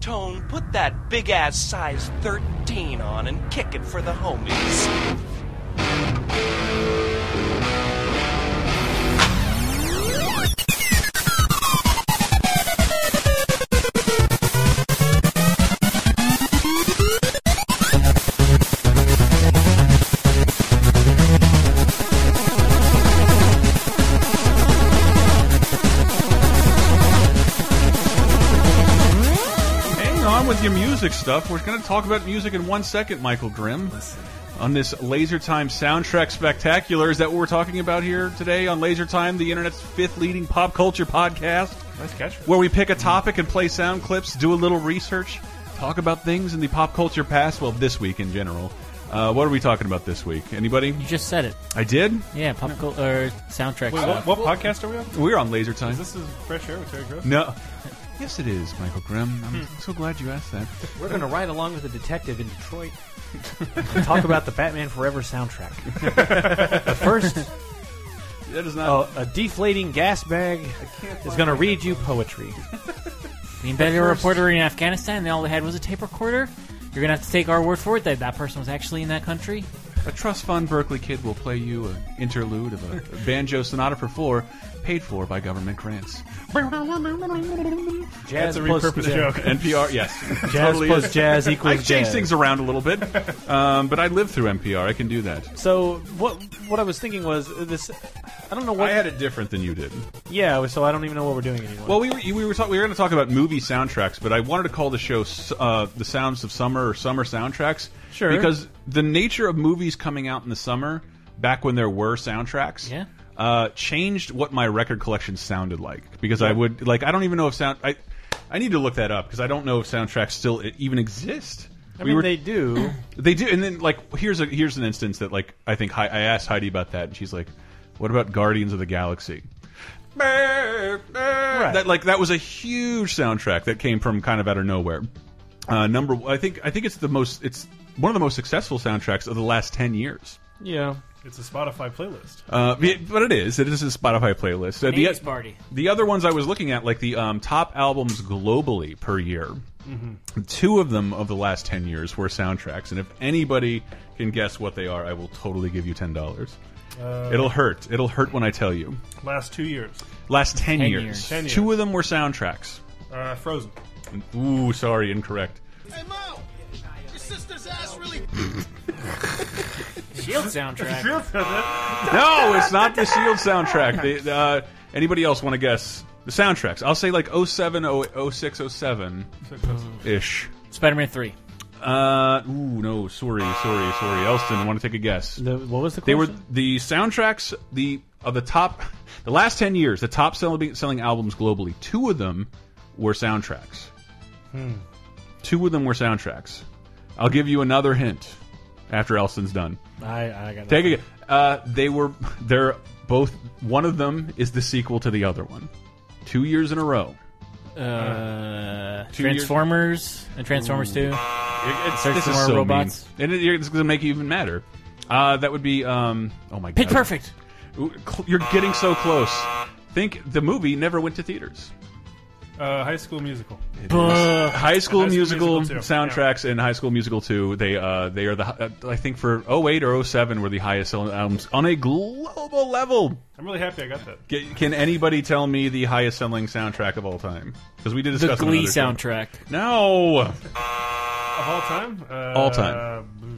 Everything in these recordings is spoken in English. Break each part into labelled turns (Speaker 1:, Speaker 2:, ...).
Speaker 1: Tone, put that big ass size 13 on and kick it for the homies.
Speaker 2: Hang on with your music stuff. We're going to talk about music in one second, Michael Grimm. On this Laser Time soundtrack spectacular, is that what we're talking about here today on Laser Time, the internet's fifth leading pop culture podcast,
Speaker 3: Nice catch.
Speaker 2: where we pick a topic and play sound clips, do a little research, talk about things in the pop culture past, well, this week in general. Uh, what are we talking about this week? Anybody?
Speaker 4: You just said it.
Speaker 2: I did.
Speaker 4: Yeah, pop cul- or soundtrack
Speaker 3: Wait,
Speaker 4: stuff.
Speaker 3: what, what podcast are we on?
Speaker 2: We're on Laser Time.
Speaker 3: This is Fresh Air with Terry Gross.
Speaker 2: No. Hmm. Yes, it is, Michael Grimm. I'm so glad you asked that.
Speaker 5: We're going to ride along with a detective in Detroit and talk about the Batman Forever soundtrack. but first,
Speaker 2: That is not.
Speaker 5: uh, a deflating gas bag is going to read you poetry.
Speaker 4: Being better reporter in Afghanistan, they all they had was a tape recorder. You're gonna have to take our word for it that that person was actually in that country.
Speaker 2: A trust fund Berkeley kid will play you an interlude of a, a banjo sonata for four, paid for by government grants.
Speaker 5: Jazz
Speaker 3: That's a
Speaker 5: plus
Speaker 3: repurposed
Speaker 5: jazz.
Speaker 3: joke.
Speaker 2: NPR, yes,
Speaker 5: Jazz
Speaker 2: totally
Speaker 5: plus
Speaker 2: is.
Speaker 5: jazz equals
Speaker 2: I've changed
Speaker 5: jazz.
Speaker 2: things around a little bit, um, but I live through NPR. I can do that.
Speaker 5: So what what I was thinking was uh, this. I don't know what.
Speaker 2: I had it different than you did.
Speaker 5: yeah, so I don't even know what we're doing anymore.
Speaker 2: Well, we were we were, talk, we were going to talk about movie soundtracks, but I wanted to call the show uh, "The Sounds of Summer" or "Summer Soundtracks,"
Speaker 5: Sure.
Speaker 2: because the nature of movies coming out in the summer, back when there were soundtracks,
Speaker 4: Yeah.
Speaker 2: uh, changed what my record collection sounded like. Because I would like I don't even know if sound I I need to look that up because I don't know if soundtracks still i- even exist.
Speaker 5: I mean, they do.
Speaker 2: They do, and then like here's a here's an instance that like I think Hei- I asked Heidi about that, and she's like, "What about Guardians of the Galaxy?" That like that was a huge soundtrack that came from kind of out of nowhere. Uh, number, I think I think it's the most it's one of the most successful soundtracks of the last ten years.
Speaker 5: yeah.
Speaker 3: It's a Spotify playlist.
Speaker 2: Uh, it- but it is it is a Spotify playlist. Uh, the-
Speaker 4: 80s party.
Speaker 2: the other ones I was looking at, like the um, top albums globally per year,
Speaker 4: Mm-hmm.
Speaker 2: two of them of the last 10 years were soundtracks. And if anybody can guess what they are, I will totally give you $10.
Speaker 4: Uh,
Speaker 2: It'll hurt. It'll hurt when I tell you.
Speaker 3: Last two years.
Speaker 2: Last 10,
Speaker 4: 10
Speaker 2: years,
Speaker 4: years.
Speaker 3: 10
Speaker 2: two of them were soundtracks.
Speaker 3: Uh, Frozen.
Speaker 2: Ooh, sorry, incorrect.
Speaker 6: Hey Mo, your sister's ass really.
Speaker 4: Shield soundtrack.
Speaker 2: No, it's not the Shield soundtrack. The- the, uh, anybody else want to guess? The soundtracks. I'll say like 07, 06, 07 ish.
Speaker 4: Spider-Man Three.
Speaker 2: Uh, ooh, no, sorry, sorry, sorry. Elston, I want to take a guess.
Speaker 5: The, what was the
Speaker 2: They
Speaker 5: question?
Speaker 2: were the soundtracks the of the top the last 10 years, the top selling selling albums globally. Two of them were soundtracks. Two of them were soundtracks. I'll give you another hint after Elston's done.
Speaker 5: I, I got
Speaker 2: Take a gu- uh they were they're both one of them is the sequel to the other one. 2 years in a row.
Speaker 4: Uh,
Speaker 2: Two years-
Speaker 4: Transformers and Transformers Two.
Speaker 2: It's,
Speaker 4: Search
Speaker 2: this
Speaker 4: for
Speaker 2: is
Speaker 4: more
Speaker 2: so
Speaker 4: robots.
Speaker 2: mean. And it, it's going to make you even madder. Uh, that would be um oh my
Speaker 4: Pitch
Speaker 2: god.
Speaker 4: Perfect.
Speaker 2: Ooh, cl- You're getting so close. Think the movie never went to theaters.
Speaker 3: Uh, High School Musical.
Speaker 2: High School
Speaker 3: High School
Speaker 2: Musical,
Speaker 3: Musical 2,
Speaker 2: soundtracks and High School Musical 2, they uh, they are the hi- uh, I think for 08 or 07 were the highest selling albums on a global level.
Speaker 3: I'm really happy I got that.
Speaker 2: G- Can anybody tell me the highest selling soundtrack of all time? Because we did
Speaker 4: The
Speaker 2: discuss it on
Speaker 4: Glee
Speaker 2: another show.
Speaker 4: soundtrack.
Speaker 2: No,
Speaker 3: Of all time? Uh,
Speaker 2: All time.
Speaker 3: mm,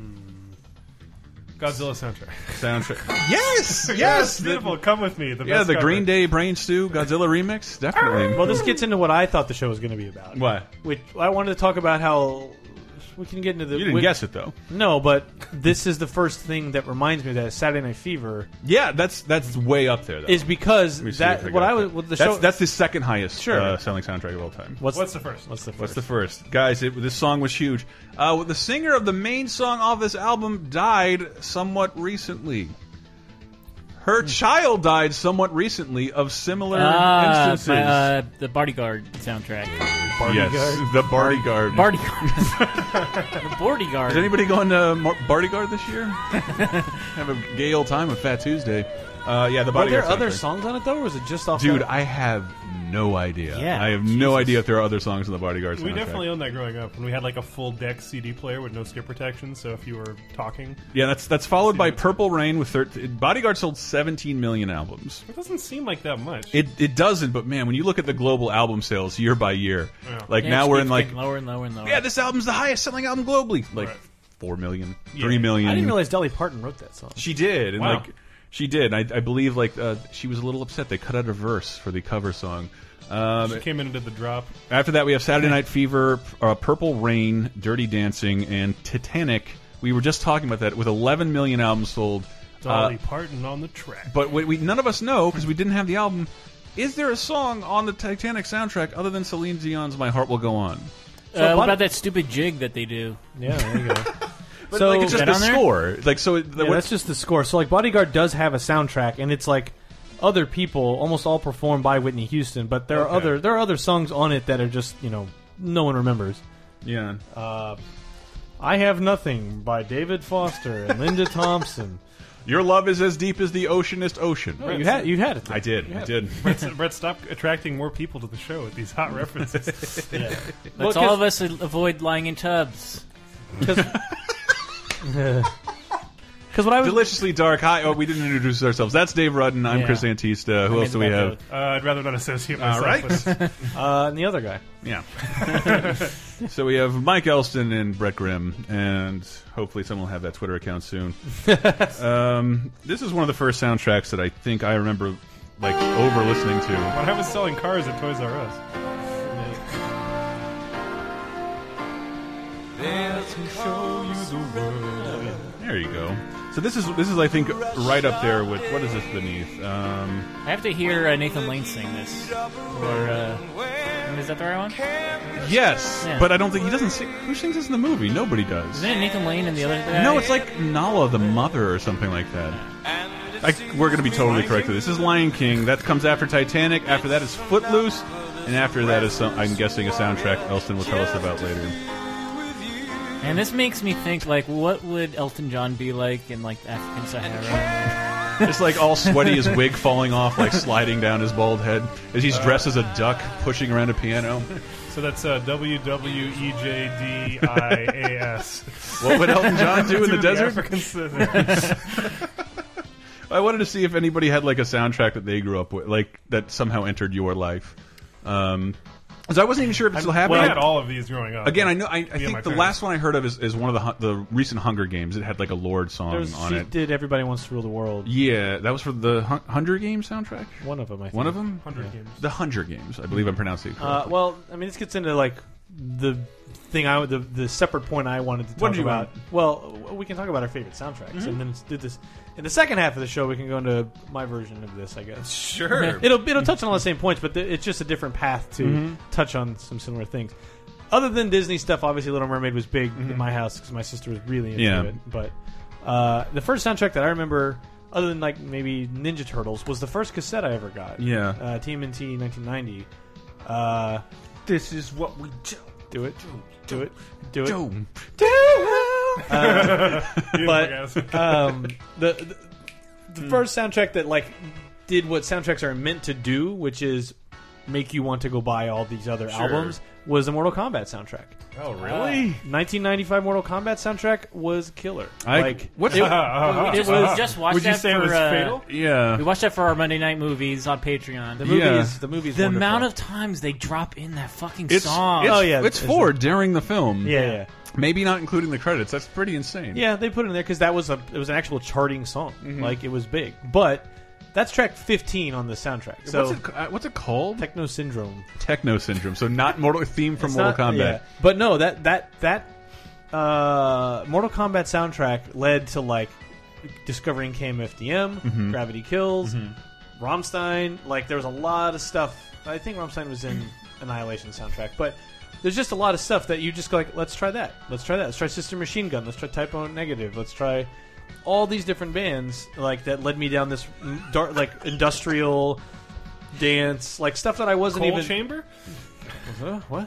Speaker 3: Godzilla soundtrack.
Speaker 2: soundtrack. yes, yes.
Speaker 3: That's
Speaker 2: the-
Speaker 3: beautiful. Come with me. The
Speaker 2: yeah,
Speaker 3: best
Speaker 2: the
Speaker 3: cover.
Speaker 2: Green Day Brain Stew Godzilla remix, definitely.
Speaker 5: Well, this gets into what I thought the show was going to be about.
Speaker 2: What?
Speaker 5: Which I wanted to talk about how we can get into the.
Speaker 2: You didn't
Speaker 5: we-
Speaker 2: guess it though.
Speaker 5: No, but this is the first thing that reminds me that Saturday Night Fever
Speaker 2: Yeah, that's that's way up there. Though.
Speaker 5: is because
Speaker 2: Let me see if
Speaker 5: that what
Speaker 2: got
Speaker 5: I was
Speaker 2: that.
Speaker 5: what the
Speaker 2: that's,
Speaker 5: show
Speaker 2: that's the second highest
Speaker 5: Sure.
Speaker 2: uh, selling soundtrack of all time.
Speaker 3: What's the first?
Speaker 5: what's the first?
Speaker 2: What's the first? Guys, it, this song was huge. Uh, well, the singer of the main song off this album died somewhat recently. Her
Speaker 5: Hmm.
Speaker 2: child died somewhat recently of similar
Speaker 4: Ah,
Speaker 2: instances.
Speaker 4: my, uh, the Bodyguard soundtrack.
Speaker 2: yes, the bodyguard.
Speaker 4: Bodyguard. the Bodyguard.
Speaker 2: Is anybody going to Mar- bodyguard this year? Have a gay old time on Fat Tuesday. Uh, yeah, the
Speaker 5: Were
Speaker 2: bodyguard.
Speaker 5: there other
Speaker 2: soundtrack.
Speaker 5: songs on it though, or was it just off?
Speaker 2: Dude,
Speaker 5: that?
Speaker 2: I have no idea.
Speaker 4: Yeah,
Speaker 2: I have no idea if there are other songs in the Bodyguard soundtrack.
Speaker 3: We definitely owned that growing up when we had like a full deck CD player with no skip protection. So if you were talking,
Speaker 2: yeah, that's that's followed by Purple Rain with 13. Bodyguard sold 17 million albums.
Speaker 3: it doesn't seem like that much.
Speaker 2: It it doesn't, but man, when you look at the global album sales year by year,
Speaker 3: Yeah.
Speaker 2: like
Speaker 4: Yeah,
Speaker 2: now
Speaker 4: it's-
Speaker 2: we're
Speaker 4: it's
Speaker 2: in like
Speaker 4: getting lower and lower and lower.
Speaker 2: yeah, this album's the highest selling album globally. Like
Speaker 3: Right.
Speaker 2: four million,
Speaker 3: Yeah.
Speaker 2: three million.
Speaker 5: I didn't realize Dolly Parton wrote that song.
Speaker 2: she did, and
Speaker 3: Wow.
Speaker 2: like she did. And I, I believe like uh, she was a little upset they cut out a verse for the cover song. Um,
Speaker 3: It came in and did the drop.
Speaker 2: after that, we have Saturday Night Fever, uh, Purple Rain, Dirty Dancing, and Titanic. We were just talking about that with 11 million albums sold.
Speaker 3: Dolly
Speaker 2: Uh,
Speaker 3: Parton on the track.
Speaker 2: but what we none of us know because we didn't have the album. Is there a song on the Titanic soundtrack other than Celine Dion's "My Heart Will Go On"?
Speaker 4: Uh, what
Speaker 5: Bun-
Speaker 4: about that stupid jig that they do?
Speaker 5: Yeah, there you go.
Speaker 2: But
Speaker 5: so
Speaker 2: like it's just
Speaker 4: that
Speaker 2: the
Speaker 4: on there?
Speaker 2: score. Like so, it,
Speaker 5: yeah,
Speaker 2: what-
Speaker 5: that's just the score. So like Bodyguard does have a soundtrack, and it's like other people, almost all performed by Whitney Houston. But there
Speaker 3: Okay.
Speaker 5: are other there are other songs on it that are just you know no one remembers.
Speaker 2: yeah.
Speaker 5: I have nothing by David Foster and Linda Thompson.
Speaker 2: Your love is as deep as the oceanest ocean.
Speaker 5: you had you had it.
Speaker 2: I did. I did.
Speaker 3: Brett, Brett, stop attracting more people to the show with these hot references.
Speaker 4: Let's all of us a- avoid lying in tubs.
Speaker 5: Because what I was
Speaker 2: Deliciously dark. Hi. Oh, we didn't introduce ourselves. That's Dave Rudden. I'm
Speaker 4: Yeah.
Speaker 2: Chris Antista. Who else do we
Speaker 4: that
Speaker 2: have?
Speaker 4: joke.
Speaker 3: uh, I'd rather not associate
Speaker 2: All
Speaker 3: myself
Speaker 2: right.
Speaker 3: with
Speaker 5: uh, and the other guy.
Speaker 2: Yeah. so we have Mike Elston and Brett Grimm, and hopefully someone will have that Twitter account soon. um, this is one of the first soundtracks that I think I remember like over listening to.
Speaker 3: When I was selling cars at Toys R Us,
Speaker 2: There you go. So this is this is I think right up there with what is this beneath? Um,
Speaker 4: I have to hear uh, Nathan Lane sing this. Or uh, is that the right one?
Speaker 2: yes,
Speaker 4: Yeah.
Speaker 2: but I don't think he doesn't sing. Who sings this in the movie? Nobody does.
Speaker 4: Isn't it Nathan Lane and the other guy?
Speaker 2: No, it's like Nala the mother or something like that. I, we're going to be totally correct. This is Lion King. That comes after Titanic. After that is Footloose, and after that is some, I'm guessing a soundtrack Elston will tell us about later.
Speaker 4: And this makes me think, like, what would Elton John be like in like African Sahara?
Speaker 2: It's like all sweaty, his wig falling off, like sliding down his bald head as he's dressed as a duck pushing around a piano.
Speaker 3: so that's uh, W W E J D I A S.
Speaker 2: What would Elton John do in the desert?
Speaker 3: African Sahara.
Speaker 2: I wanted to see if anybody had like a soundtrack that they grew up with, like that somehow entered your life. Um, 'cause I wasn't even sure if it still happened.
Speaker 3: well, I had all of these growing up.
Speaker 2: Again, I know. I, I
Speaker 3: Yeah, my
Speaker 2: think the
Speaker 3: parents.
Speaker 2: last one I heard of is, is one of the hu- the recent Hunger Games. It had like a Lord song
Speaker 5: There's,
Speaker 2: on
Speaker 5: she
Speaker 2: it.
Speaker 5: did Everybody Wants to Rule the World.
Speaker 2: Yeah, that was for the Hun- Hunger Games soundtrack.
Speaker 5: One of them, I think.
Speaker 2: One of them,
Speaker 3: Hundred games.
Speaker 2: the Hunger Games. I believe I'm pronouncing it.
Speaker 5: Uh,
Speaker 2: correctly.
Speaker 5: well, I mean, this gets into like the thing I the the separate point I wanted to talk
Speaker 2: What did you Mm-hmm.
Speaker 5: about. Well, w- we can talk about our favorite soundtracks, and then do this in the second half of the show. We can go into my version of this, I guess.
Speaker 2: sure.
Speaker 5: It'll it'll touch on all the same points, but th- it's just a different path to
Speaker 2: Mm-hmm.
Speaker 5: touch on some similar things. Other than Disney stuff, obviously, Little Mermaid was big in my house because my sister was really into
Speaker 2: Mm-hmm. Yeah.
Speaker 5: it. But uh, the first soundtrack that I remember, other than like maybe Ninja Turtles, was the first cassette I ever got.
Speaker 2: Yeah.
Speaker 5: uh, TMNT 1990. Uh,
Speaker 2: this is what we do.
Speaker 5: do it. Do it. Do it.
Speaker 2: Do.
Speaker 5: But um, the, the
Speaker 2: Hmm.
Speaker 5: the first soundtrack that like did what soundtracks are meant to do, which is make you want to go buy all these other albums, was the Mortal Kombat soundtrack.
Speaker 3: oh, really?
Speaker 5: 1995 Mortal Kombat soundtrack was killer.
Speaker 2: I,
Speaker 5: like
Speaker 2: what's
Speaker 4: we just, we just watched
Speaker 3: Uh-huh. Would you
Speaker 4: that
Speaker 3: say
Speaker 4: for,
Speaker 3: it was
Speaker 4: uh,
Speaker 3: fatal?
Speaker 2: yeah?
Speaker 4: We watched that for our Monday night movies on Patreon. The,
Speaker 5: the movie
Speaker 2: yeah.
Speaker 5: is the movie is
Speaker 4: the
Speaker 5: wonderful.
Speaker 4: amount of times they drop in that fucking
Speaker 2: It's,
Speaker 4: song.
Speaker 2: it's-
Speaker 5: Oh, yeah,
Speaker 2: it's
Speaker 5: it's
Speaker 2: four
Speaker 5: a-
Speaker 2: during the film.
Speaker 5: yeah, yeah.
Speaker 2: maybe not including the credits. That's pretty insane.
Speaker 5: Yeah, they put it in there because that was a it was an actual charting song.
Speaker 2: Mm-hmm.
Speaker 5: Like it was big, but that's track 15 on the soundtrack. So
Speaker 2: what's it, ca- uh, what's it called?
Speaker 5: Techno Syndrome.
Speaker 2: Techno Syndrome. So not Mortal theme from
Speaker 5: It's
Speaker 2: Mortal
Speaker 5: not-
Speaker 2: Kombat.
Speaker 5: yeah. But no, that that that uh, Mortal Kombat soundtrack led to like discovering KMFDM,
Speaker 2: Mm-hmm.
Speaker 5: Gravity Kills, Rammstein. Like there was a lot of stuff. I think Rammstein was in Annihilation soundtrack, but there's just a lot of stuff that you just go like, let's try that, let's try that, let's try Sister Machine Gun, let's try Typo Negative, let's try all these different bands like that led me down this mm, dark like industrial dance like stuff that I wasn't
Speaker 3: Coal
Speaker 5: even
Speaker 3: chamber?
Speaker 5: Huh? what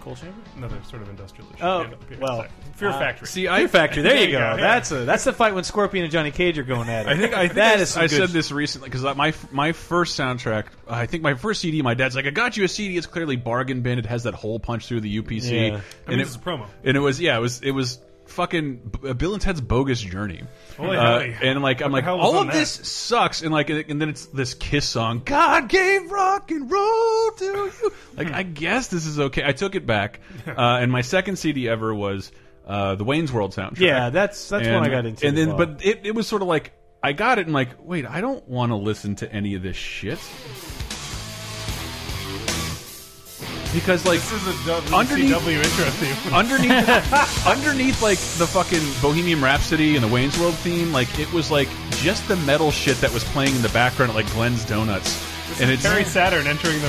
Speaker 5: Coal chamber.
Speaker 3: Another sort of industrial issue.
Speaker 5: Oh,
Speaker 3: yeah,
Speaker 5: well,
Speaker 3: sorry. Fear
Speaker 5: uh,
Speaker 3: Factory.
Speaker 2: See,
Speaker 5: Fear
Speaker 2: I
Speaker 5: Factory. There you go.
Speaker 3: Yeah, yeah.
Speaker 5: That's a that's the fight when Scorpion and Johnny Cage are going at it.
Speaker 2: I think I think
Speaker 5: That
Speaker 2: I,
Speaker 5: is some
Speaker 2: I
Speaker 5: good
Speaker 2: said
Speaker 5: sh-
Speaker 2: this recently because my my first soundtrack, I think my first CD, my dad's like, "I got you a CD. It's clearly bargain bin. It has that hole punch through the UPC."
Speaker 5: Yeah.
Speaker 2: And
Speaker 3: I mean,
Speaker 2: it,
Speaker 3: this is a promo.
Speaker 2: and it was yeah, it was it was fucking B- Bill and Ted's bogus journey.
Speaker 3: Holy
Speaker 2: Uh,
Speaker 3: moly.
Speaker 2: and like I'm
Speaker 3: What
Speaker 2: like
Speaker 3: the hell was
Speaker 2: all
Speaker 3: on
Speaker 2: of
Speaker 3: that?
Speaker 2: this sucks and like and then it's this kiss song God gave rock and roll to you like I guess this is okay I took it back uh, and my second CD ever was uh, the Wayne's World soundtrack
Speaker 5: Yeah, that's that's when I got into.
Speaker 2: and
Speaker 5: it as
Speaker 2: then
Speaker 5: well.
Speaker 2: but it, it was sort of like I got it and like wait I don't want to listen to any of this shit because like
Speaker 3: This is a
Speaker 2: Underneath-
Speaker 3: WCW intro theme.
Speaker 2: underneath underneath like the fucking Bohemian Rhapsody and the Wayne's World theme, like it was like just the metal shit that was playing in the background at like Glen's Donuts. And it's
Speaker 3: Terry Saturn entering the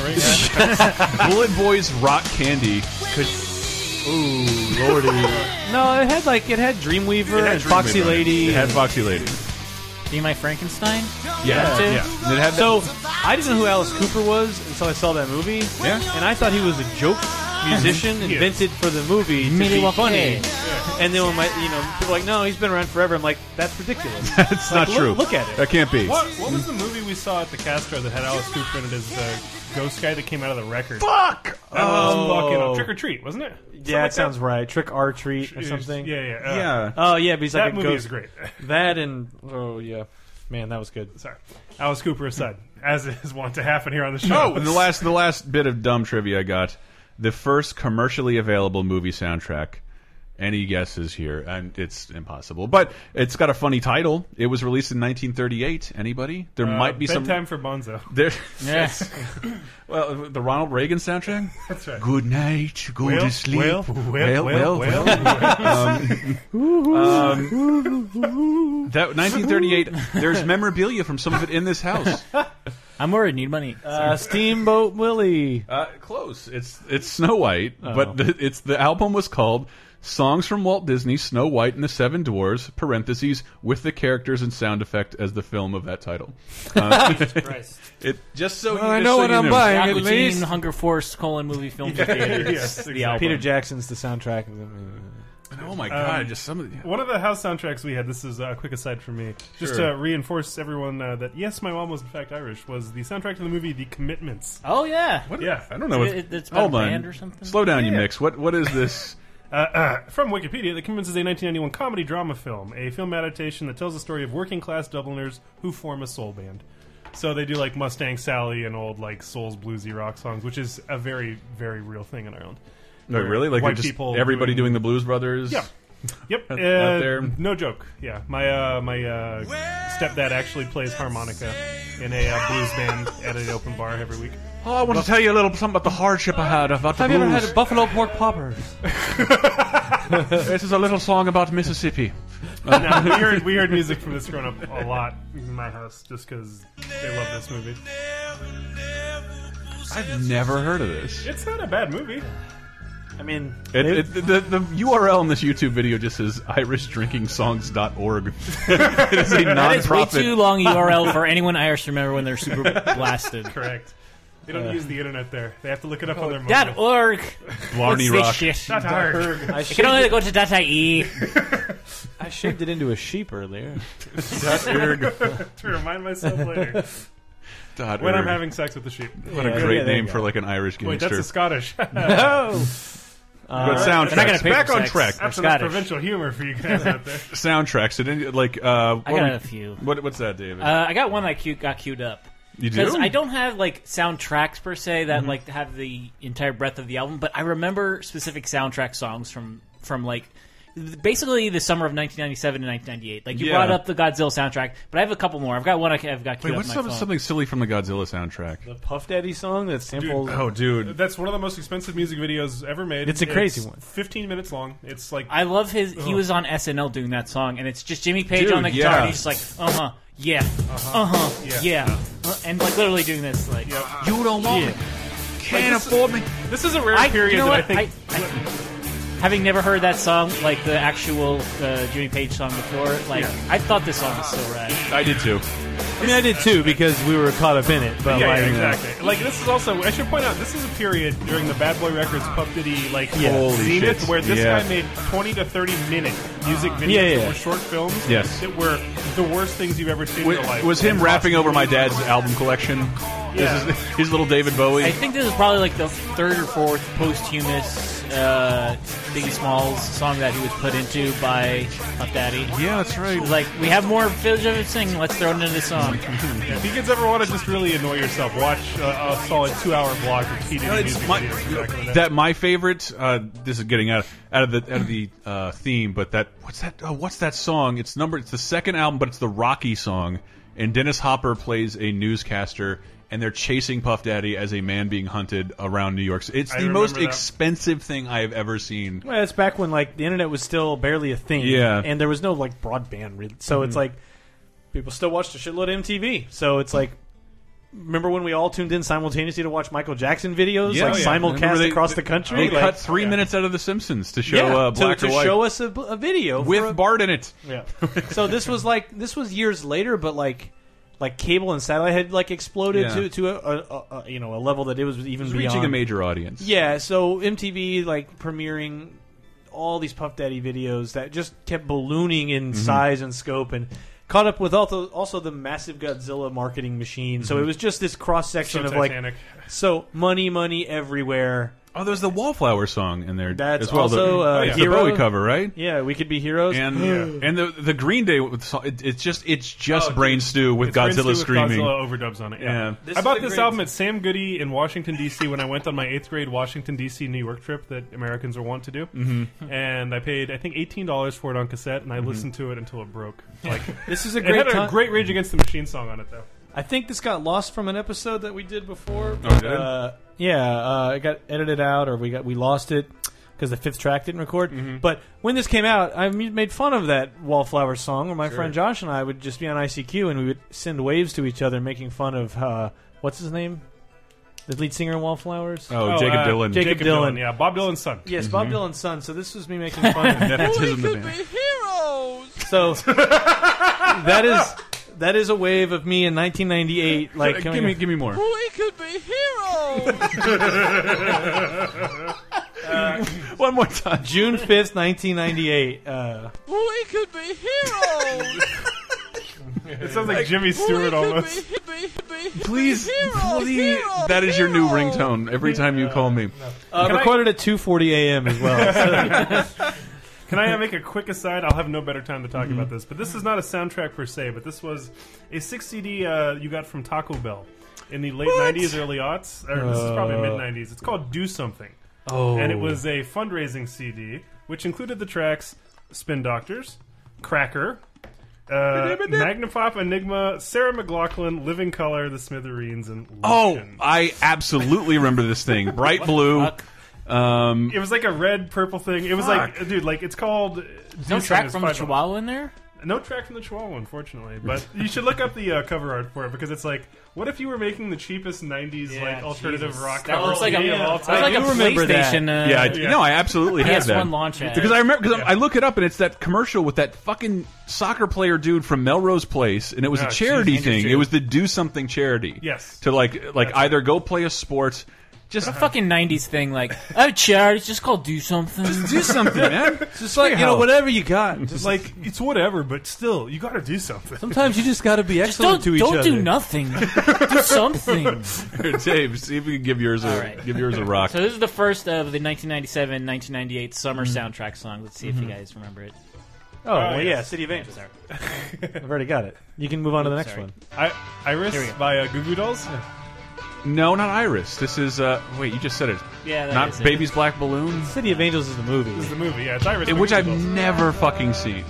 Speaker 3: ring.
Speaker 2: Bullet Boys Rock Candy.
Speaker 5: no, it had like it had Dreamweaver and Foxy Lady.
Speaker 2: It had Foxy Lady.
Speaker 4: Be my Frankenstein.
Speaker 2: Yeah.
Speaker 5: That's it.
Speaker 2: yeah. And it had
Speaker 5: so I didn't know who Alice Cooper was until I saw that movie.
Speaker 2: Yeah.
Speaker 5: and I thought he was a joke musician
Speaker 3: Yes.
Speaker 5: invented for the movie to be
Speaker 4: Milwaukee.
Speaker 5: funny. And then when my you know people are like no, he's been around forever. I'm like that's ridiculous.
Speaker 2: that. It's not
Speaker 5: Like, look-
Speaker 2: true.
Speaker 5: look at it.
Speaker 2: That can't be.
Speaker 3: What, what was the movie we saw at the Castro that had Alice Cooper in it as the ghost guy that came out of the record?
Speaker 2: Fuck!
Speaker 3: That was
Speaker 5: Oh.
Speaker 3: fucking uh, Trick or Treat, wasn't it?
Speaker 5: yeah, that sounds right. Trick or treat or
Speaker 3: It was-
Speaker 5: something.
Speaker 3: Yeah, yeah. uh,
Speaker 2: Yeah.
Speaker 5: Oh yeah, but he's
Speaker 3: That
Speaker 5: like a
Speaker 3: movie
Speaker 5: ghost.
Speaker 3: is great.
Speaker 5: That and oh yeah, man, that was good.
Speaker 3: Sorry. Alice Cooper aside, as is wont to happen here on the show.
Speaker 2: Oh, and the last the last bit of dumb trivia I got: the first commercially available movie soundtrack. Any guesses here? And it's impossible, but it's got a funny title. It was released in 1938. Anybody? There
Speaker 3: Uh,
Speaker 2: might be some.
Speaker 3: bedtime for Bonzo.
Speaker 2: There,
Speaker 4: Yes.
Speaker 2: well, the Ronald Reagan soundtrack.
Speaker 3: That's right.
Speaker 2: Good night. Go
Speaker 3: Well,
Speaker 2: to sleep.
Speaker 3: well, well, well, well.
Speaker 2: um, that 1938. There's memorabilia from some of it in this house.
Speaker 4: I'm worried. Need money.
Speaker 5: Uh, Steamboat Willie.
Speaker 2: Uh, close. It's it's Snow White,
Speaker 5: Oh.
Speaker 2: but the, it's the album was called "Songs from Walt Disney: Snow White and the Seven Dwarfs" (parentheses with the characters and sound effect as the film of that title).
Speaker 4: Christ.
Speaker 2: It just so
Speaker 5: I
Speaker 2: just
Speaker 5: know
Speaker 2: so
Speaker 5: what
Speaker 2: you
Speaker 5: I'm
Speaker 2: knew.
Speaker 5: buying. At
Speaker 4: Aqua Teen,
Speaker 5: least-
Speaker 4: Hunger Force: colon movie film for theaters.
Speaker 3: Yes,
Speaker 4: the
Speaker 3: exactly.
Speaker 4: album.
Speaker 5: Peter Jackson's the soundtrack. of the-
Speaker 2: Oh my god!
Speaker 5: Um,
Speaker 2: just some of the,
Speaker 3: One of the house soundtracks we had, this is a quick aside for me, just
Speaker 2: Sure.
Speaker 3: to reinforce everyone uh, that yes, my mom was in fact Irish, was the soundtrack to the movie The Commitments.
Speaker 4: Oh yeah.
Speaker 3: Yeah.
Speaker 2: I don't know. What,
Speaker 4: It- it's about
Speaker 2: hold
Speaker 4: a
Speaker 2: on.
Speaker 4: band or something?
Speaker 2: Slow down, you
Speaker 3: Yeah.
Speaker 2: mix. What what is this?
Speaker 3: Uh, from Wikipedia, The Commitments is a 1991 comedy drama film, a film adaptation that tells the story of working class Dubliners who form a soul band. So they do like Mustang Sally and old like Souls bluesy rock songs, which is a very very real thing in Ireland.
Speaker 2: No, really? Like
Speaker 3: White
Speaker 2: they're just
Speaker 3: people
Speaker 2: everybody
Speaker 3: doing-
Speaker 2: doing, the Blues Brothers?
Speaker 3: Yeah. Yep, uh,
Speaker 2: there.
Speaker 3: no joke. Yeah, my uh, my uh, stepdad actually plays harmonica in a uh, blues band at an open bar every week.
Speaker 2: Oh, I want to tell you a little something about the hardship I had about the
Speaker 5: Have you ever
Speaker 2: blues.
Speaker 5: had a buffalo pork poppers?
Speaker 2: this is a little song about Mississippi.
Speaker 3: No, we heard we heard music from this growing up a lot in my house just because they love this movie.
Speaker 2: I've never heard of this.
Speaker 3: It's not a bad movie.
Speaker 5: I mean,
Speaker 2: It, it, the, the URL in this YouTube video just says irishdrinkingsongs.org. it is a
Speaker 4: That is way
Speaker 2: nonprofit.
Speaker 4: too long URL for anyone Irish to remember when they're super blasted.
Speaker 3: Correct. They
Speaker 2: Uh.
Speaker 3: don't use the internet there. They have to look it up on their
Speaker 4: Dot
Speaker 3: mobile.
Speaker 4: org.
Speaker 2: Blarney
Speaker 4: What's this
Speaker 2: Rock.
Speaker 4: shit?
Speaker 3: Dot org.
Speaker 5: I
Speaker 4: You can
Speaker 5: shaved,
Speaker 4: only go to dot E. IE.
Speaker 5: I shaved it into a sheep earlier.
Speaker 3: to remind myself later
Speaker 2: Dot
Speaker 3: when I'm
Speaker 2: org.
Speaker 3: having sex with the sheep.
Speaker 2: what a great
Speaker 5: Yeah, yeah, there you
Speaker 2: name
Speaker 5: go.
Speaker 2: for like an Irish
Speaker 3: Wait, that's
Speaker 2: gangster.
Speaker 3: a Scottish.
Speaker 5: Oh, Uh,
Speaker 2: but soundtracks.
Speaker 4: And I gotta pay
Speaker 2: Back
Speaker 4: for
Speaker 2: on
Speaker 4: sex.
Speaker 2: track.
Speaker 4: I'm
Speaker 3: That's enough
Speaker 4: Scottish.
Speaker 3: provincial humor for you guys out there.
Speaker 2: Soundtracks. Did any, like uh, what
Speaker 4: I got
Speaker 2: were-
Speaker 4: a few.
Speaker 2: What, what's that, David?
Speaker 4: Uh, I got one I queued, got queued up.
Speaker 2: you Mm-hmm.
Speaker 4: Because
Speaker 2: do?
Speaker 4: I don't have like soundtracks per se that like have the entire breadth of the album, but I remember specific soundtrack songs from from like th- basically the summer of 1997 and 1998. Like you
Speaker 2: Yeah.
Speaker 4: brought up the Godzilla soundtrack, but I have a couple more. I've got one I, ca- I've got
Speaker 2: Wait,
Speaker 4: queued up.
Speaker 2: what's
Speaker 4: on my
Speaker 2: some,
Speaker 4: phone.
Speaker 2: something silly from the Godzilla soundtrack?
Speaker 5: the Puff Daddy song that sampled.
Speaker 2: Oh, dude.
Speaker 3: That's one of the most expensive music videos ever made.
Speaker 5: It's a crazy one.
Speaker 3: 15 minutes long. It's like
Speaker 4: I love his. He was on SNL doing that song, and it's just Jimmy Page
Speaker 2: Dude,
Speaker 4: on the guitar,
Speaker 2: yeah.
Speaker 4: and he's just like, uh huh, yeah, uh huh, yeah, uh, and like literally doing this, like,
Speaker 2: You don't want
Speaker 4: Yeah.
Speaker 2: me. Can't afford me.
Speaker 3: this is a rare
Speaker 4: I,
Speaker 3: period
Speaker 4: you know
Speaker 3: that
Speaker 4: what?
Speaker 3: I think
Speaker 4: I- I- having never heard that song, like the actual uh, Jimmy Page song before, like I thought this song was so rad.
Speaker 2: I did too.
Speaker 5: I mean, I did too because we were caught up in it. But
Speaker 3: Yeah,
Speaker 5: like,
Speaker 3: yeah, exactly. Like this is also I should point out this is a period during the Bad Boy Records Puff Diddy like
Speaker 5: Yeah.
Speaker 3: whole
Speaker 2: Holy
Speaker 3: zenith
Speaker 2: shit.
Speaker 3: where this
Speaker 2: Yeah.
Speaker 3: guy made twenty to thirty minute music videos
Speaker 5: Yeah, yeah,
Speaker 3: that
Speaker 5: yeah.
Speaker 3: were short films
Speaker 2: Yes.
Speaker 3: that were the worst things you've ever seen in your
Speaker 2: It
Speaker 3: life.
Speaker 2: was him
Speaker 3: And
Speaker 2: rapping
Speaker 3: possibly-
Speaker 2: over my dad's album collection.
Speaker 3: Yeah.
Speaker 2: This is his little David Bowie.
Speaker 4: I think this is probably like the third or fourth posthumous uh, Biggie Smalls song that he was put into by Puff Daddy.
Speaker 2: yeah, that's right.
Speaker 4: Like we have more footage of him singing, let's throw it into the song.
Speaker 3: If you kids ever want to just really annoy yourself, watch uh, a solid two hour block of P Diddy
Speaker 2: No, it's
Speaker 3: music
Speaker 2: my-
Speaker 3: videos. back in the day.
Speaker 2: that my favorite. Uh, this is getting out out of the out of the uh, theme, but that what's that? Oh, what's that song? It's number. It's the second album, but it's the Rocky song, and Dennis Hopper plays a newscaster. And they're chasing Puff Daddy as a man being hunted around New York. It's
Speaker 3: I
Speaker 2: the most
Speaker 3: remember that.
Speaker 2: expensive thing I have ever seen.
Speaker 5: Well, it's back when like the internet was still barely a thing.
Speaker 2: Yeah.
Speaker 5: and there was no like broadband, really. so it's like people still watched a shitload of MTV. So it's like, remember when we all tuned in simultaneously to watch Michael Jackson videos,
Speaker 2: Yeah,
Speaker 5: like
Speaker 2: yeah. Remember
Speaker 5: simulcast
Speaker 2: they-
Speaker 5: across the
Speaker 2: They
Speaker 5: country? like,
Speaker 2: cut three minutes out of The Simpsons to show
Speaker 5: yeah,
Speaker 2: uh,
Speaker 5: to-
Speaker 2: black
Speaker 5: to,
Speaker 2: or white
Speaker 5: show us a, b- a video for
Speaker 2: with
Speaker 5: a-
Speaker 2: Bart in it.
Speaker 5: yeah. so this was like this was years later, but like. Like cable and satellite had like exploded
Speaker 2: Yeah.
Speaker 5: to to a, a, a, a you know a level that it was even
Speaker 2: It's
Speaker 5: beyond
Speaker 2: reaching a major audience.
Speaker 5: yeah, so MTV like premiering all these Puff Daddy videos that just kept ballooning in
Speaker 2: Mm-hmm.
Speaker 5: size and scope and caught up with also also the massive Godzilla marketing machine. So it
Speaker 2: Mm-hmm.
Speaker 5: was just this cross
Speaker 3: so
Speaker 5: section of
Speaker 3: Titanic.
Speaker 5: like so money, money everywhere.
Speaker 2: Oh, there's the Wallflower song in there
Speaker 5: That's
Speaker 2: as well.
Speaker 5: also,
Speaker 2: the,
Speaker 5: uh,
Speaker 2: it's
Speaker 5: Hero.
Speaker 2: the Bowie cover, right?
Speaker 5: Yeah, we could be heroes.
Speaker 2: and and the the Green Day with so- it, it's just it's just
Speaker 3: Oh,
Speaker 2: brain
Speaker 3: dude.
Speaker 2: stew with
Speaker 3: It's
Speaker 2: Godzilla
Speaker 3: Prince too, with
Speaker 2: screaming.
Speaker 3: Godzilla Oh, overdubs on it. Yeah,
Speaker 2: Yeah.
Speaker 5: This
Speaker 3: I
Speaker 5: is
Speaker 3: bought
Speaker 5: the
Speaker 3: this
Speaker 5: great-
Speaker 3: album at Sam Goody in Washington D.C. when I went on my eighth grade Washington D.C. New York trip that Americans are wont to do, mm-hmm. and I paid I think eighteen dollars for it on cassette, and I
Speaker 2: Mm-hmm.
Speaker 3: listened to it until it broke. Like
Speaker 5: this is a
Speaker 3: it
Speaker 5: great
Speaker 3: had a
Speaker 5: time.
Speaker 3: great Rage Against the Machine song on it though.
Speaker 5: I think this got lost from an episode that we did before.
Speaker 2: Oh, did it?
Speaker 5: Uh, yeah, uh, it got edited out, or we got we lost it because the fifth track didn't record.
Speaker 2: Mm-hmm.
Speaker 5: But when this came out, I m- made fun of that Wallflower song, where my friend Josh and I would just be on ICQ and we would send waves to each other, making fun of uh, what's his name, the lead singer in Wallflowers.
Speaker 2: oh, mm-hmm.
Speaker 3: Oh,
Speaker 2: Jacob
Speaker 3: uh,
Speaker 2: Dylan,
Speaker 5: Jacob Dylan.
Speaker 3: yeah, Bob Dylan's son.
Speaker 5: Yes, Bob Dylan's son. So this was me making fun of him.
Speaker 2: nepotism the band.
Speaker 6: heroes.
Speaker 5: So that is that is a wave of me in 1998. Like,
Speaker 2: Give me give me more.
Speaker 6: We could be heroes.
Speaker 2: One more time.
Speaker 5: June 5th, 1998. Uh,
Speaker 6: we could be heroes.
Speaker 3: It sounds like Jimmy Stewart almost.
Speaker 2: Please, please. That is your new ringtone every time you call me.
Speaker 5: Uh,
Speaker 3: Can I-
Speaker 5: recorded at 2:40 a.m. as well.
Speaker 3: Can I uh, make a quick aside? I'll have no better time to talk
Speaker 4: Mm-hmm.
Speaker 3: about this, but this is not a soundtrack per se, but this was a six CD uh, you got from Taco Bell in the late '90s, early aughts, or this is probably
Speaker 4: Uh,
Speaker 3: mid '90s. It's called "Do Something,"
Speaker 5: oh,
Speaker 3: and it was a fundraising CD which included the tracks "Spin Doctors," "Cracker." Uh, Magnapop, Enigma, Sarah McLaughlin, Living Color, The Smithereens, and
Speaker 2: Oh,
Speaker 3: Lucian.
Speaker 4: uh,
Speaker 2: I absolutely remember this thing. Bright blue. Um,
Speaker 3: it was like a red purple thing. It was like, dude, like it's called. uh,
Speaker 4: No
Speaker 3: Do
Speaker 4: track
Speaker 3: Something,
Speaker 4: from the
Speaker 3: it's five
Speaker 4: Chihuahua in there?
Speaker 3: No track from the Chihuahua, unfortunately. But you should look up the uh, cover art for it because it's like, what if you were making the cheapest '90s like alternative
Speaker 4: Jesus.
Speaker 3: rock
Speaker 4: That
Speaker 3: cover
Speaker 4: looks like a,
Speaker 3: CD of all
Speaker 4: that's
Speaker 3: time?
Speaker 4: like a
Speaker 5: do remember that.
Speaker 4: PlayStation. Uh,
Speaker 2: yeah, I, no, I absolutely had
Speaker 4: PS1
Speaker 2: that.
Speaker 4: launch ad.
Speaker 2: Because I remember, because I look it up and it's that commercial with that fucking soccer player dude from Melrose Place, and it was
Speaker 3: Oh,
Speaker 2: a charity
Speaker 3: geez, Andrew
Speaker 2: thing.
Speaker 3: Chu.
Speaker 2: It was the do something charity.
Speaker 3: Yes.
Speaker 2: To like, like either go play a sport, just
Speaker 4: fucking '90s thing, like oh, charity, just called do something.
Speaker 2: do something, man.
Speaker 5: just like you know, whatever you got. Just like
Speaker 3: like it's whatever, but still, you got to do something.
Speaker 5: sometimes you just got to be
Speaker 4: don't
Speaker 5: excellent to each
Speaker 4: don't
Speaker 5: other.
Speaker 4: do nothing. do something.
Speaker 2: Here, Dave, see if you can give yours a
Speaker 4: All right.
Speaker 2: give yours a rock.
Speaker 4: So this is the first of the 1997-1998 summer soundtrack songs. Let's see if you guys remember it.
Speaker 5: Oh, well, yeah,
Speaker 3: yes.
Speaker 5: City of Angels.
Speaker 4: Sorry.
Speaker 5: I've already got it. You can move on to the next
Speaker 4: Sorry.
Speaker 5: one.
Speaker 3: I, Iris
Speaker 4: Here we go.
Speaker 3: by uh, Goo Goo Dolls.
Speaker 2: No, not Iris. This is uh wait, you just said it.
Speaker 4: Yeah, that
Speaker 2: not
Speaker 4: is it.
Speaker 2: Baby's Black Balloon,
Speaker 5: City of Angels is the
Speaker 3: This is
Speaker 5: movie.
Speaker 3: the movie. Yeah, it's Iris.
Speaker 2: eh,
Speaker 3: by
Speaker 2: which
Speaker 3: Goo Goo
Speaker 2: I've
Speaker 3: Dolls.
Speaker 2: never fucking seen.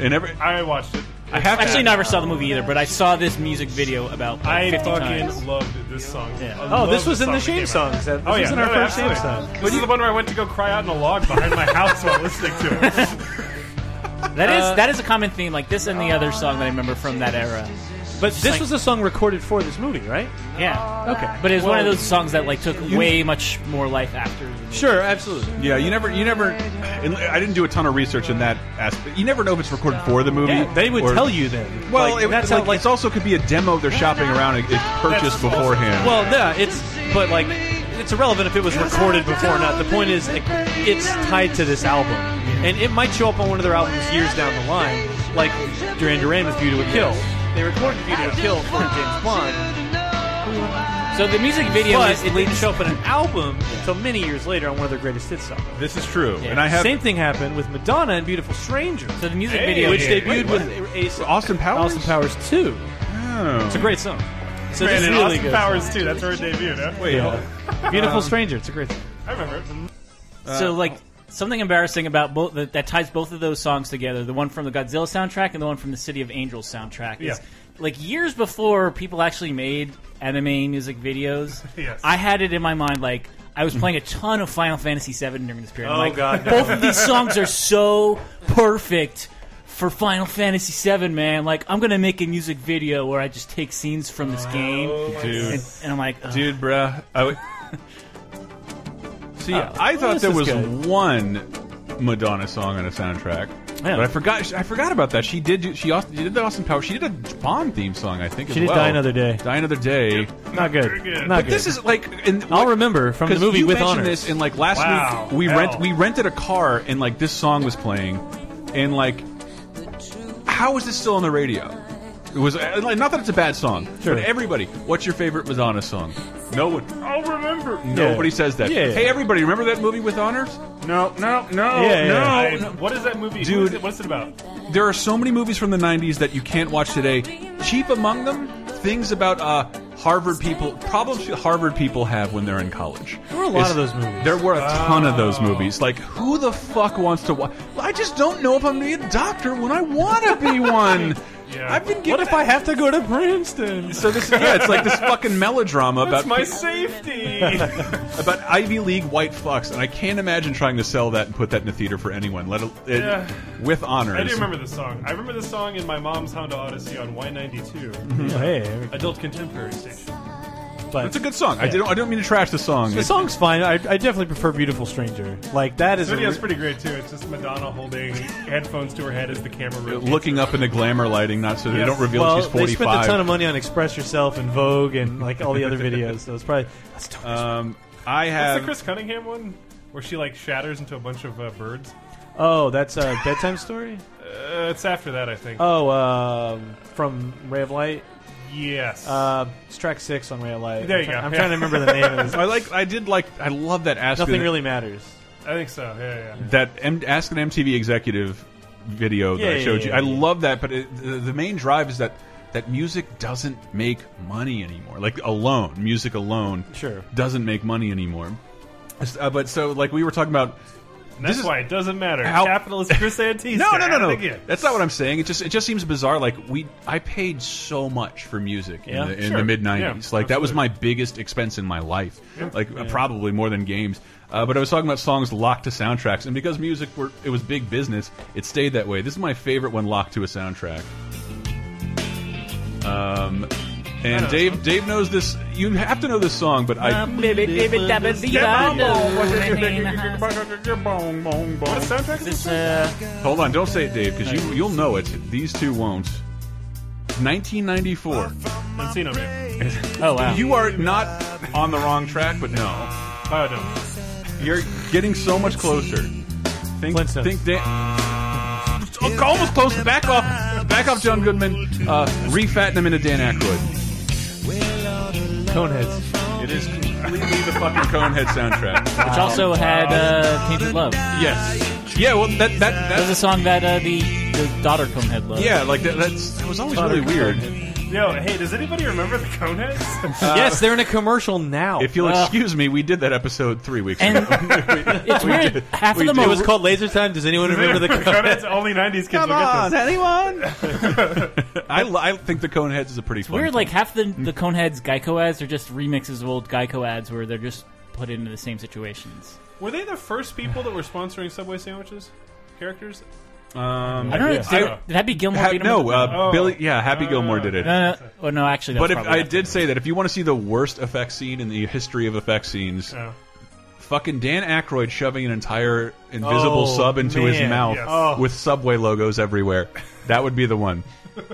Speaker 2: And every
Speaker 3: I watched it.
Speaker 2: I have to-
Speaker 4: Actually, never saw the movie either, but I saw this music video about
Speaker 3: I
Speaker 4: like, 50
Speaker 3: fucking
Speaker 4: times.
Speaker 3: loved this song.
Speaker 4: Yeah.
Speaker 3: I
Speaker 5: Oh,
Speaker 3: loved
Speaker 5: this was in
Speaker 3: song
Speaker 5: the
Speaker 3: that
Speaker 5: shame
Speaker 3: came out.
Speaker 5: songs. That- This
Speaker 3: Oh yeah,
Speaker 5: was in
Speaker 3: no,
Speaker 5: our
Speaker 3: no,
Speaker 5: first shame
Speaker 3: absolutely.
Speaker 5: song.
Speaker 3: This is the one where I went to go cry out in a log behind my house while listening to it.
Speaker 4: That is that is a common theme. Like this and the other song that I remember from that era
Speaker 5: But this
Speaker 4: like-
Speaker 5: was a song recorded for this movie, right?
Speaker 4: Yeah.
Speaker 5: Okay.
Speaker 4: But it was one of those songs that like took way much more life after. the movie.
Speaker 5: Sure, absolutely.
Speaker 2: Yeah, you never, you never. and I didn't do a ton of research in that aspect. You never know if it's recorded for the movie.
Speaker 5: Yeah, they would
Speaker 2: or-
Speaker 5: tell you then.
Speaker 2: Well,
Speaker 5: Like,
Speaker 2: it,
Speaker 5: that's
Speaker 2: like,
Speaker 5: how, like,
Speaker 2: it's also could be a demo they're shopping around and it's purchased beforehand.
Speaker 5: Well, yeah, it's but like it's irrelevant if it was recorded before or not. The point is, like, it's tied to this album, and it might show up on one of their albums years down the line, like Duran Duran with "View to a Kill." They recorded "View to a Kill" for James Bond,
Speaker 4: So the music video
Speaker 5: but
Speaker 4: is
Speaker 5: it didn't
Speaker 4: leads
Speaker 5: show up in an album until many years later on one of their greatest hits albums.
Speaker 2: this is true, and I have
Speaker 5: Same thing happened with Madonna and "Beautiful Stranger,"
Speaker 4: So the music
Speaker 3: Hey,
Speaker 4: video,
Speaker 5: which
Speaker 3: Wait,
Speaker 5: debuted
Speaker 2: what?
Speaker 5: with Ace
Speaker 2: Austin Powers.
Speaker 5: Austin Powers Two.
Speaker 2: Oh.
Speaker 5: It's a great song. So
Speaker 3: And
Speaker 5: this
Speaker 3: in
Speaker 5: really
Speaker 3: Austin
Speaker 5: good.
Speaker 3: Powers too. That's where it debuted. Huh?
Speaker 2: Wait, hold-
Speaker 5: Yeah. "Beautiful Stranger." It's a great. Song.
Speaker 3: I remember it.
Speaker 5: uh,
Speaker 4: so like something embarrassing about both that, that ties both of those songs together. The one from the Godzilla soundtrack and the one from the City of Angels soundtrack.
Speaker 3: Yeah.
Speaker 4: Is, like years before people actually made anime music videos,
Speaker 3: Yes.
Speaker 4: I had it in my mind like I was playing a ton of Final Fantasy VII during this period. I'm
Speaker 5: Hmm. Oh,
Speaker 4: like,
Speaker 5: God, no.
Speaker 4: Both of these songs are so perfect for Final Fantasy VII, man. Like I'm gonna make a music video where I just take scenes from
Speaker 5: Oh.
Speaker 4: this game,
Speaker 2: dude,
Speaker 4: and, and I'm like, ugh.
Speaker 2: dude, bruh. I would- See, I
Speaker 5: well,
Speaker 2: thought
Speaker 5: this
Speaker 2: there
Speaker 5: Uh, is
Speaker 2: was
Speaker 5: good.
Speaker 2: one Madonna song on a soundtrack, but I forgot. I forgot about that. She did. Do, she, also, she did the Austin Powers. She did a Bond theme song, I think.
Speaker 5: She
Speaker 2: as
Speaker 5: did
Speaker 2: well.
Speaker 5: Die Another Day.
Speaker 2: Die another day.
Speaker 5: Not good.
Speaker 3: good.
Speaker 5: Not
Speaker 2: But
Speaker 5: good.
Speaker 2: this is like, and
Speaker 5: I'll remember from the
Speaker 2: Because
Speaker 5: movie
Speaker 2: you
Speaker 5: with
Speaker 2: mentioned
Speaker 5: honor.
Speaker 2: this in like last
Speaker 3: Wow.
Speaker 2: week we
Speaker 3: Hell.
Speaker 2: rent we rented a car and like this song was playing and like how is this still on the radio it was uh, like, not that it's a bad song
Speaker 5: Sure.
Speaker 2: but everybody what's your favorite Madonna song no one
Speaker 3: I'll remember.
Speaker 2: nobody says that
Speaker 5: Yeah.
Speaker 2: hey everybody remember that movie with honors no no no
Speaker 5: Yeah,
Speaker 2: no
Speaker 5: yeah.
Speaker 3: I- what is that movie?
Speaker 2: Dude.
Speaker 3: Who is it- what's it about?
Speaker 2: there are so many movies from the 90s that you can't watch today. Chief among them, things about uh, Harvard people, problems Harvard people have when they're in college. There were
Speaker 5: a lot of those movies.
Speaker 2: There were a ton of those movies. Like, who the fuck wants to watch? I just don't know if I'm going to be a doctor when I want to be one.
Speaker 3: Yeah.
Speaker 2: I've been getting.
Speaker 5: What if I have to go to Princeton?
Speaker 2: So this, yeah, it's like this fucking melodrama
Speaker 3: That's
Speaker 2: about pe-
Speaker 3: my safety.
Speaker 2: about Ivy League white fucks, and I can't imagine trying to sell that and put that in the theater for anyone. Let it, it-
Speaker 3: Yeah.
Speaker 2: with honors.
Speaker 3: I do remember this song. I remember this song in my mom's Honda Odyssey on Y92,
Speaker 5: hey,
Speaker 3: adult contemporary station.
Speaker 5: but
Speaker 2: It's a good song. I don't. I don't mean to trash the song.
Speaker 5: the
Speaker 2: It's-
Speaker 5: song's fine. I, I definitely prefer "Beautiful Stranger." Like that is
Speaker 3: The
Speaker 5: a
Speaker 3: video's
Speaker 5: re-
Speaker 3: pretty great too. It's just Madonna holding headphones to her head as the camera rotates.
Speaker 2: looking up in the glamour lighting, not so they
Speaker 3: Yes.
Speaker 2: don't reveal
Speaker 5: well.
Speaker 2: she's
Speaker 5: They
Speaker 2: forty
Speaker 5: spent a ton
Speaker 2: five.
Speaker 5: of money on "Express Yourself" and Vogue and like all the other videos. So it's probably that's totally
Speaker 2: Um, I
Speaker 3: What's the
Speaker 2: have
Speaker 3: Chris Cunningham one where she like shatters into a bunch of uh, birds?
Speaker 5: oh, that's a bedtime story.
Speaker 3: Uh, it's after that, I think.
Speaker 5: Oh, um, from Ray of Light.
Speaker 3: yes.
Speaker 5: Uh, it's track six on Ray of Light.
Speaker 3: There
Speaker 5: I'm
Speaker 3: you
Speaker 5: try-
Speaker 3: go.
Speaker 5: I'm
Speaker 3: Yeah.
Speaker 5: trying to remember the name. of this.
Speaker 2: I like. I did like. I love that ask
Speaker 5: Nothing
Speaker 2: an,
Speaker 5: really matters.
Speaker 3: I think so. Yeah, yeah.
Speaker 2: that M, ask an MTV executive video that
Speaker 5: Yeah,
Speaker 2: I
Speaker 5: yeah,
Speaker 2: showed
Speaker 5: yeah,
Speaker 2: you. I
Speaker 5: yeah.
Speaker 2: love that, but it, the, the main drive is that that music doesn't make money anymore. Like alone, music alone,
Speaker 5: Sure.
Speaker 2: doesn't make money anymore. Uh, but so like we were talking about
Speaker 3: And that's
Speaker 2: is-
Speaker 3: why it doesn't matter.
Speaker 2: How-
Speaker 3: Capitalist Chris Antista.
Speaker 2: No, no, no,
Speaker 3: out
Speaker 2: no.
Speaker 3: again.
Speaker 2: That's not what I'm saying. It just it just seems bizarre. Like we, I paid so much for music
Speaker 5: Yeah.
Speaker 2: in the, in
Speaker 3: Sure.
Speaker 2: the mid '90s.
Speaker 3: Yeah,
Speaker 2: like that was
Speaker 3: absolutely.
Speaker 2: my biggest expense in my life. Like uh, probably more than games. Uh, but I was talking about songs locked to soundtracks, and because music were it was big business, it stayed that way. This is my favorite one locked to a soundtrack. Um, and Dave Dave knows this. You have to know this song, but I.
Speaker 3: What soundtrack is
Speaker 4: It's, uh,
Speaker 2: Hold on, don't say it, Dave, because you you'll know it. These two won't. 1994.
Speaker 3: Encino Man.
Speaker 4: oh wow.
Speaker 2: You are not on the wrong track, but no,
Speaker 3: Biodome.
Speaker 2: you're getting so much closer. Think,
Speaker 5: Flintstones.
Speaker 2: think, da- almost close. Back off, back off, John Goodman. Uh, refatten him into Dan Aykroyd.
Speaker 5: Coneheads.
Speaker 2: It is completely the fucking Conehead soundtrack.
Speaker 4: which also had uh, Tainted Love.
Speaker 2: Yes. Yeah. Well, that that
Speaker 4: That was a
Speaker 2: that's
Speaker 4: song that uh, the, the daughter Conehead loved.
Speaker 2: yeah. Like that, that's that was always really weird.
Speaker 3: Yo, hey, does anybody remember the Coneheads?
Speaker 5: yes, they're in a commercial now.
Speaker 2: If you'll
Speaker 4: Uh,
Speaker 2: excuse me, we did that episode three weeks
Speaker 4: And-
Speaker 2: ago.
Speaker 4: it's weird. Half of them
Speaker 5: it
Speaker 4: are
Speaker 5: was called Laser Time. Does anyone remember the?
Speaker 3: Coneheads? Only 90s kids will get this.
Speaker 2: anyone? I, li- I think the Coneheads is a pretty fun.
Speaker 4: weird. Like half the the Coneheads Geico ads are just remixes of old Geico ads where they're just put into the same situations.
Speaker 3: Were they the first people that were sponsoring Subway sandwiches? Characters?
Speaker 2: Um,
Speaker 4: I don't know.
Speaker 3: Yeah.
Speaker 4: Did,
Speaker 3: Zero.
Speaker 4: did that be Gilmore?
Speaker 2: ha-
Speaker 4: Beat 'em
Speaker 2: no,
Speaker 4: Up?
Speaker 2: uh,
Speaker 3: Oh.
Speaker 2: Billy. Yeah, Happy Gilmore did it.
Speaker 4: no, no, no. Oh, no, actually, that's
Speaker 2: But if
Speaker 4: probably
Speaker 2: I
Speaker 4: after.
Speaker 2: did say that if you want to see the worst effects scene in the history of effects scenes,
Speaker 3: Oh.
Speaker 2: fucking Dan Aykroyd shoving an entire invisible
Speaker 5: Oh,
Speaker 2: sub into his
Speaker 5: man,
Speaker 2: mouth
Speaker 3: yes.
Speaker 5: Oh.
Speaker 2: with Subway logos everywhere. That would be the one.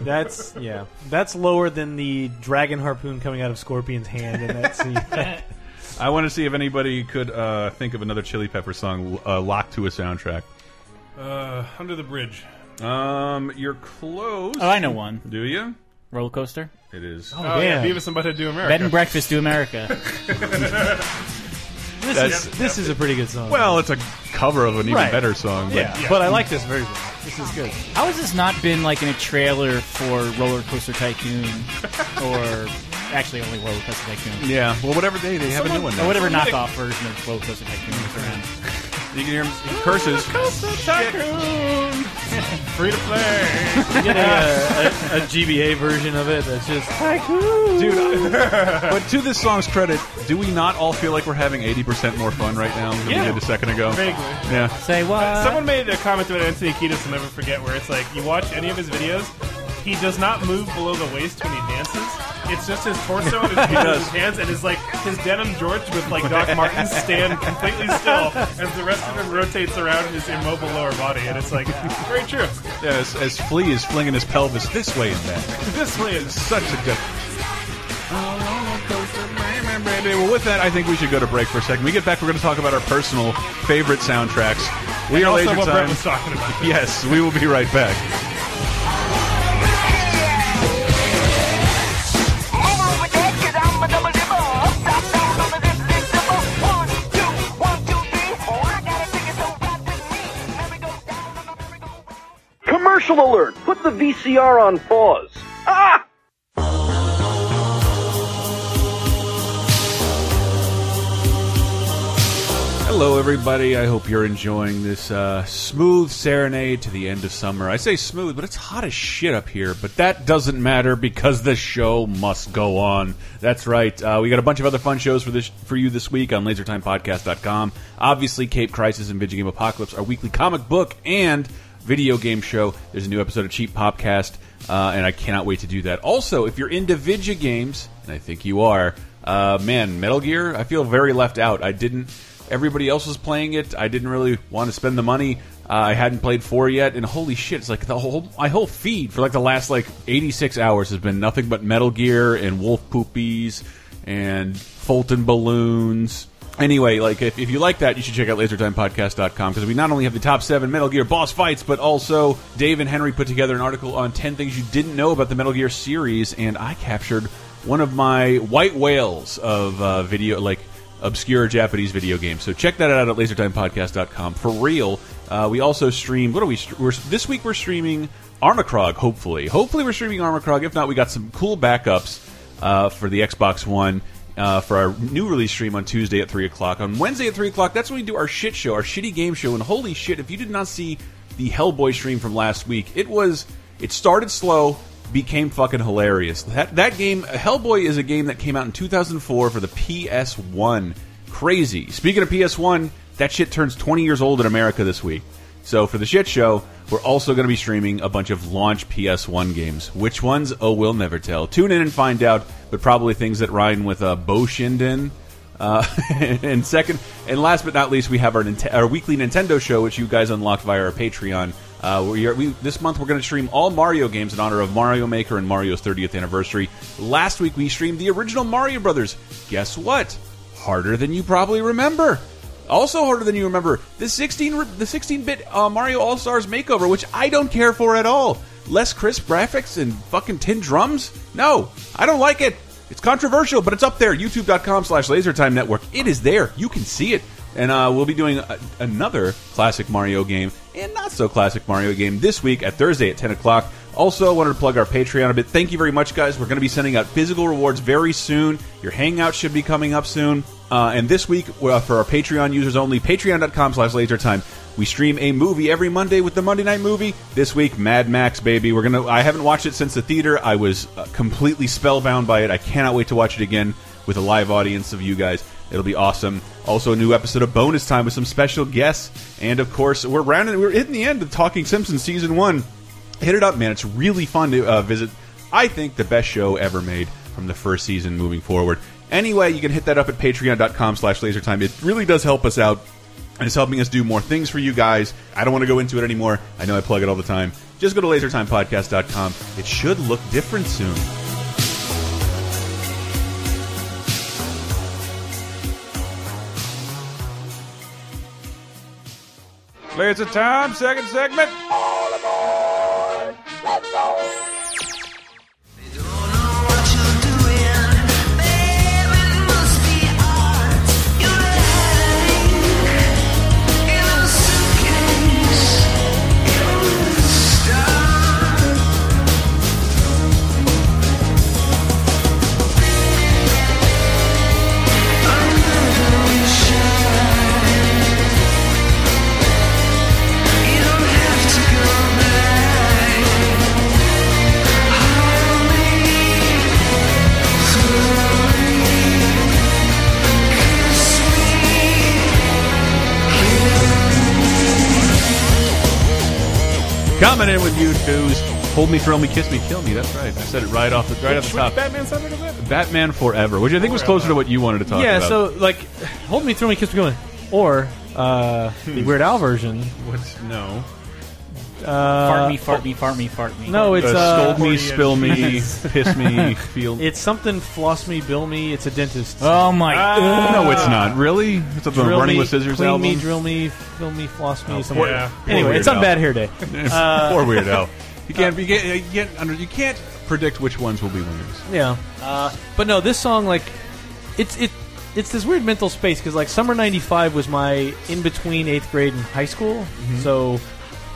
Speaker 5: That's yeah. That's lower than the dragon harpoon coming out of Scorpion's hand in that scene.
Speaker 2: I want to see if anybody could uh, think of another Chili Pepper song uh, locked to a soundtrack.
Speaker 3: Uh, under the bridge.
Speaker 2: Um, you're close.
Speaker 4: Oh, I know one.
Speaker 2: Do you?
Speaker 4: Roller coaster.
Speaker 2: It is.
Speaker 3: Oh, yeah,
Speaker 5: damn.
Speaker 3: Beavis and Butthead do America.
Speaker 4: Bed and breakfast to America.
Speaker 5: this
Speaker 2: That's-
Speaker 5: is this is a pretty good song.
Speaker 2: Well, it's a cover of an even
Speaker 5: Right.
Speaker 2: better song. But
Speaker 5: yeah, but I like this version. This is good.
Speaker 4: How has this not been like in a trailer for Roller Coaster Tycoon or actually only Roller Coaster Tycoon?
Speaker 2: Yeah. Well, whatever day they have a new one.
Speaker 4: Or
Speaker 2: Now.
Speaker 4: whatever knockoff version of Roller Coaster Tycoon is around.
Speaker 2: You can hear 'em curses.
Speaker 3: Free to play.
Speaker 5: Get a, a, a GBA version of it. That's just
Speaker 2: Dude, I- but to this song's credit, do we not all feel like we're having 80% more fun right now than we
Speaker 3: Yeah.
Speaker 2: did a second ago?
Speaker 3: Vaguely.
Speaker 2: Yeah.
Speaker 4: Say what?
Speaker 3: Someone made a comment about Anthony Kiedis will never forget where it's like, you watch any of his videos, he does not move below the waist when he dances. It's just his torso and his, fingers, his hands and his like his denim jorts with like Doc Martens stand completely still as the rest of him rotates around his immobile lower body and it's like very true.
Speaker 2: yeah as, as Flea is flinging his pelvis this way and that.
Speaker 3: This is
Speaker 2: Such a good. Well, with that, I think we should go to break for a second. When we get back, we're going to talk about our personal favorite soundtracks. We are
Speaker 3: also
Speaker 2: Laser
Speaker 3: what Brett
Speaker 2: Time.
Speaker 3: was talking about.
Speaker 2: Yes, we will be right back.
Speaker 7: Commercial alert! Put the VCR on pause. Ah!
Speaker 2: Hello, everybody. I hope you're enjoying this uh, smooth serenade to the end of summer. I say smooth, but it's hot as shit up here. But that doesn't matter because the show must go on. That's right. Uh, we got a bunch of other fun shows for this for you this week on LaserTimePodcast.com. Obviously, Cape Crisis and Video Game Apocalypse, our weekly comic book and video game show. There's a new episode of Cheap Popcast, uh, and I cannot wait to do that. Also, if you're into video games, and I think you are, uh, man, Metal Gear, I feel very left out. I didn't. Everybody else was playing it. I didn't really want to spend the money. Uh, I hadn't played four yet, and holy shit! It's like the whole my whole feed for like the last like eighty six hours has been nothing but Metal Gear and Wolf Poopies and Fulton Balloons. Anyway, like if, if you like that, you should check out lasertimepodcast.com because we not only have the top seven Metal Gear boss fights, but also Dave and Henry put together an article on ten things you didn't know about the Metal Gear series, and I captured one of my white whales of uh, video like obscure Japanese video games. So check that out at lasertimepodcast.com for real. Uh, we also stream. What are we? We're, this week we're streaming Armacrog. Hopefully, hopefully we're streaming Armacrog. If not, we got some cool backups uh, for the Xbox One. Uh, for our new release stream on Tuesday at 3 o'clock. On Wednesday at 3 o'clock, that's when we do our shit show, our shitty game show. And holy shit, if you did not see the Hellboy stream from last week, it was. It started slow, became fucking hilarious. That that game, Hellboy, is a game that came out in 2004 for the PS1. Crazy. Speaking of PS1, that shit turns 20 years old in America this week. So for the shit show, we're also going to be streaming a bunch of launch PS1 games. Which ones? Oh, we'll never tell. Tune in and find out. But probably things that rhyme with uh, Bo Shinden. Uh, and second, and last but not least, we have our, Ninte- our weekly Nintendo show, which you guys unlock via our Patreon. Uh, we are, we, this month, we're going to stream all Mario games in honor of Mario Maker and Mario's 30th anniversary. Last week, we streamed the original Mario Brothers. Guess what? Harder than you probably remember. Also harder than you remember, the 16 re- the 16-bit uh, Mario All Stars makeover, which I don't care for at all. Less crisp graphics and fucking tin drums? No, I don't like it. It's controversial, but it's up there. YouTube.com slash LaserTime Network. It is there. You can see it. And uh, we'll be doing a, another classic Mario game and not so classic Mario game this week at Thursday at 10 o'clock. Also, wanted to plug our Patreon a bit. Thank you very much, guys. We're going to be sending out physical rewards very soon. Your hangout should be coming up soon. Uh, and this week, uh, for our Patreon users only, patreon.com slash lasertime. We stream a movie every Monday with the Monday Night Movie. This week, Mad Max, baby. We're gonna. I haven't watched it since the theater. I was uh, completely spellbound by it. I cannot wait to watch it again with a live audience of you guys. It'll be awesome. Also, a new episode of Bonus Time with some special guests, and of course, we're rounding. We're hitting the end of Talking Simpsons season one. Hit it up, man! It's really fun to uh, visit. I think the best show ever made from the first season moving forward. Anyway, you can hit that up at Patreon.com/slash LaserTime. It really does help us out. And it's helping us do more things for you guys. I don't want to go into it anymore. I know I plug it all the time. Just go to lasertimepodcast.com. It should look different soon. Laser time, second segment. Coming in with you twos. Hold me, throw me, kiss me, kill me. That's right. I said it right off the right off the
Speaker 3: Which
Speaker 2: top.
Speaker 3: Batman soundtrack is that?
Speaker 2: Batman Forever, which I think was closer to what you wanted to talk
Speaker 5: yeah,
Speaker 2: about.
Speaker 5: so like, hold me, throw me, kiss me, going, or uh, the
Speaker 2: Hmm.
Speaker 5: Weird Al version.
Speaker 2: what's no?
Speaker 4: fart me, fart me, fart me, fart me.
Speaker 5: No, it's
Speaker 2: Uh,
Speaker 5: uh,
Speaker 2: scold me,
Speaker 3: Korean.
Speaker 2: spill me, piss me, feel.
Speaker 5: it's something floss me, bill me. It's a dentist.
Speaker 4: Oh my!
Speaker 2: no, it's not really. It's not the
Speaker 5: uh, Drill
Speaker 2: Running
Speaker 5: me,
Speaker 2: with Scissors
Speaker 5: clean
Speaker 2: album. Oh,
Speaker 5: me, drill me, fill me, floss me. something
Speaker 3: poor-
Speaker 5: like
Speaker 3: yeah.
Speaker 5: that.
Speaker 2: poor
Speaker 5: Anyway, it's
Speaker 2: Weird
Speaker 5: on
Speaker 2: Al.
Speaker 5: Bad Hair Day.
Speaker 2: Poor Weird Al. You can't, you can't, you can't, under, you can't predict which ones will be winners.
Speaker 5: Yeah. Uh, but no, this song like it's it it's this weird mental space because like summer '95 was my in between eighth grade and high school,
Speaker 2: Mm-hmm.
Speaker 5: so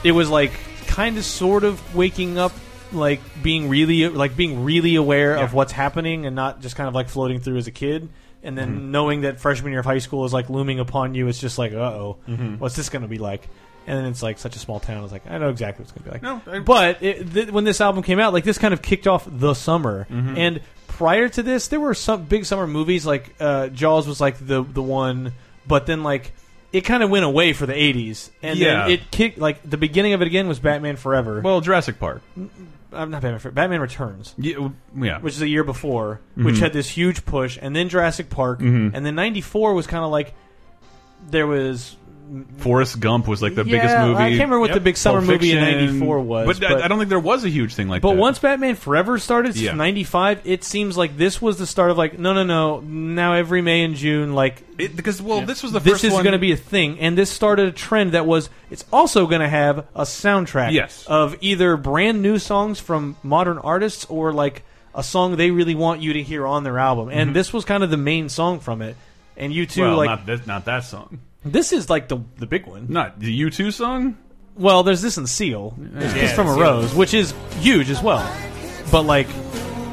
Speaker 5: it was like kind of sort of waking up, like being really like being really aware of what's happening and not just kind of like floating through as a kid. And then
Speaker 2: Mm-hmm.
Speaker 5: knowing that freshman year of high school is like looming upon you, it's just like, uh oh,
Speaker 2: Mm-hmm.
Speaker 5: what's this going to be like? And then it's like such a small town. It's like I know exactly what's going to be like.
Speaker 2: No, I-
Speaker 5: But it, th- when this album came out, like this kind of kicked off the summer.
Speaker 2: Mm-hmm.
Speaker 5: And prior to this, there were some big summer movies. Like uh, Jaws was like the the one, but then like it kind of went away for the '80s, and
Speaker 2: Yeah.
Speaker 5: then it kicked. Like the beginning of it again was Batman Forever.
Speaker 2: Well, Jurassic Park.
Speaker 5: I'm not Batman Forever. Batman Returns,
Speaker 2: Yeah, yeah.
Speaker 5: which is a year before, which
Speaker 2: Mm-hmm.
Speaker 5: had this huge push, and then Jurassic Park, and then '94 was kind of like there was.
Speaker 2: Forrest Gump was like the
Speaker 5: Yeah,
Speaker 2: biggest movie.
Speaker 5: I can't remember what
Speaker 3: Yep.
Speaker 5: the big summer
Speaker 2: Pulp
Speaker 5: movie in
Speaker 2: Fiction.
Speaker 5: '94 was,
Speaker 2: but, I- I, don't think there was a huge thing like
Speaker 5: But
Speaker 2: that.
Speaker 5: once Batman Forever started,
Speaker 2: Yeah.
Speaker 5: ninety five, it seems like this was the start of like, no, no, no. Now every May and June, like
Speaker 2: It- because well, this was the
Speaker 5: this
Speaker 2: first
Speaker 5: is
Speaker 2: one.
Speaker 5: going to be a thing, and this started a trend that was. It's also going to have a soundtrack,
Speaker 2: Yes.
Speaker 5: of either brand new songs from modern artists or like a song they really want you to hear on their album. And this was kind of the main song from it. And you two,
Speaker 2: Mm-hmm. well,
Speaker 5: like
Speaker 2: not, that, not that song.
Speaker 5: this is like the the big one.
Speaker 2: Not the U two song.
Speaker 5: Well, there's this in Seal. There's Kiss from a Rose, which is huge as well. But like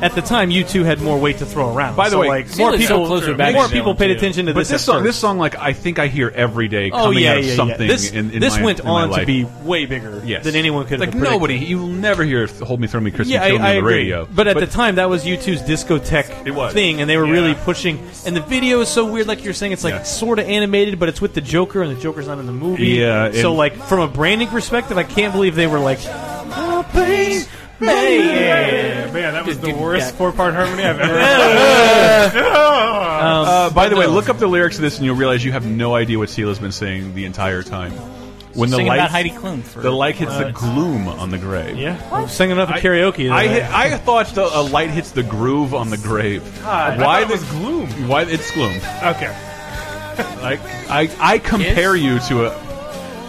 Speaker 5: at the time, you two had more weight to throw around.
Speaker 2: By the
Speaker 5: So,
Speaker 2: way,
Speaker 5: like
Speaker 2: Seal
Speaker 5: more
Speaker 4: is so
Speaker 5: people,
Speaker 4: close to
Speaker 5: more
Speaker 4: Back to
Speaker 5: people
Speaker 4: Dylan,
Speaker 5: paid
Speaker 4: too.
Speaker 5: attention to
Speaker 2: But
Speaker 5: this.
Speaker 2: this
Speaker 5: at
Speaker 2: song,
Speaker 5: first.
Speaker 2: this song, like I think I hear every day
Speaker 5: oh
Speaker 2: coming
Speaker 5: yeah,
Speaker 2: out of
Speaker 5: yeah,
Speaker 2: something.
Speaker 5: yeah. This,
Speaker 2: in, in
Speaker 5: this
Speaker 2: my-
Speaker 5: went
Speaker 2: in my
Speaker 5: on to
Speaker 2: life.
Speaker 5: be way bigger
Speaker 2: Yes.
Speaker 5: than anyone could
Speaker 2: Like
Speaker 5: have predicted.
Speaker 2: nobody, you will never hear "Hold Me, Throw Me, Kiss
Speaker 5: Yeah,
Speaker 2: Me,
Speaker 5: I,
Speaker 2: Kill Me"
Speaker 5: I
Speaker 2: on the
Speaker 5: agree.
Speaker 2: radio.
Speaker 5: But at the time, that was U2's discotheque
Speaker 2: It was.
Speaker 5: thing, and they were
Speaker 3: Yeah.
Speaker 5: really pushing. And the video is so weird, like you're saying, it's like
Speaker 2: Yeah.
Speaker 5: sort of animated, but it's with the Joker, and the Joker's not in the movie.
Speaker 2: Yeah,
Speaker 5: So,
Speaker 2: and-
Speaker 5: like from a branding perspective, I can't believe they were like, "Oh, please, man."
Speaker 3: Yeah, man, that was the worst four-part harmony I've ever heard.
Speaker 2: Uh, by the way, look up the lyrics of this, and you'll realize you have no idea what Sela's been saying the entire time. When the
Speaker 4: Sing
Speaker 2: light,
Speaker 4: about Heidi Klum for
Speaker 2: the light hits the gloom on the grave.
Speaker 5: Yeah, I'm singing enough at karaoke.
Speaker 2: I,
Speaker 5: that
Speaker 2: hit, I thought the, a light hits the groove on the grave.
Speaker 3: Why
Speaker 2: why
Speaker 3: it was
Speaker 2: the
Speaker 3: gloom?
Speaker 2: why it's gloom?
Speaker 3: Okay.
Speaker 2: Like I I compare you to a.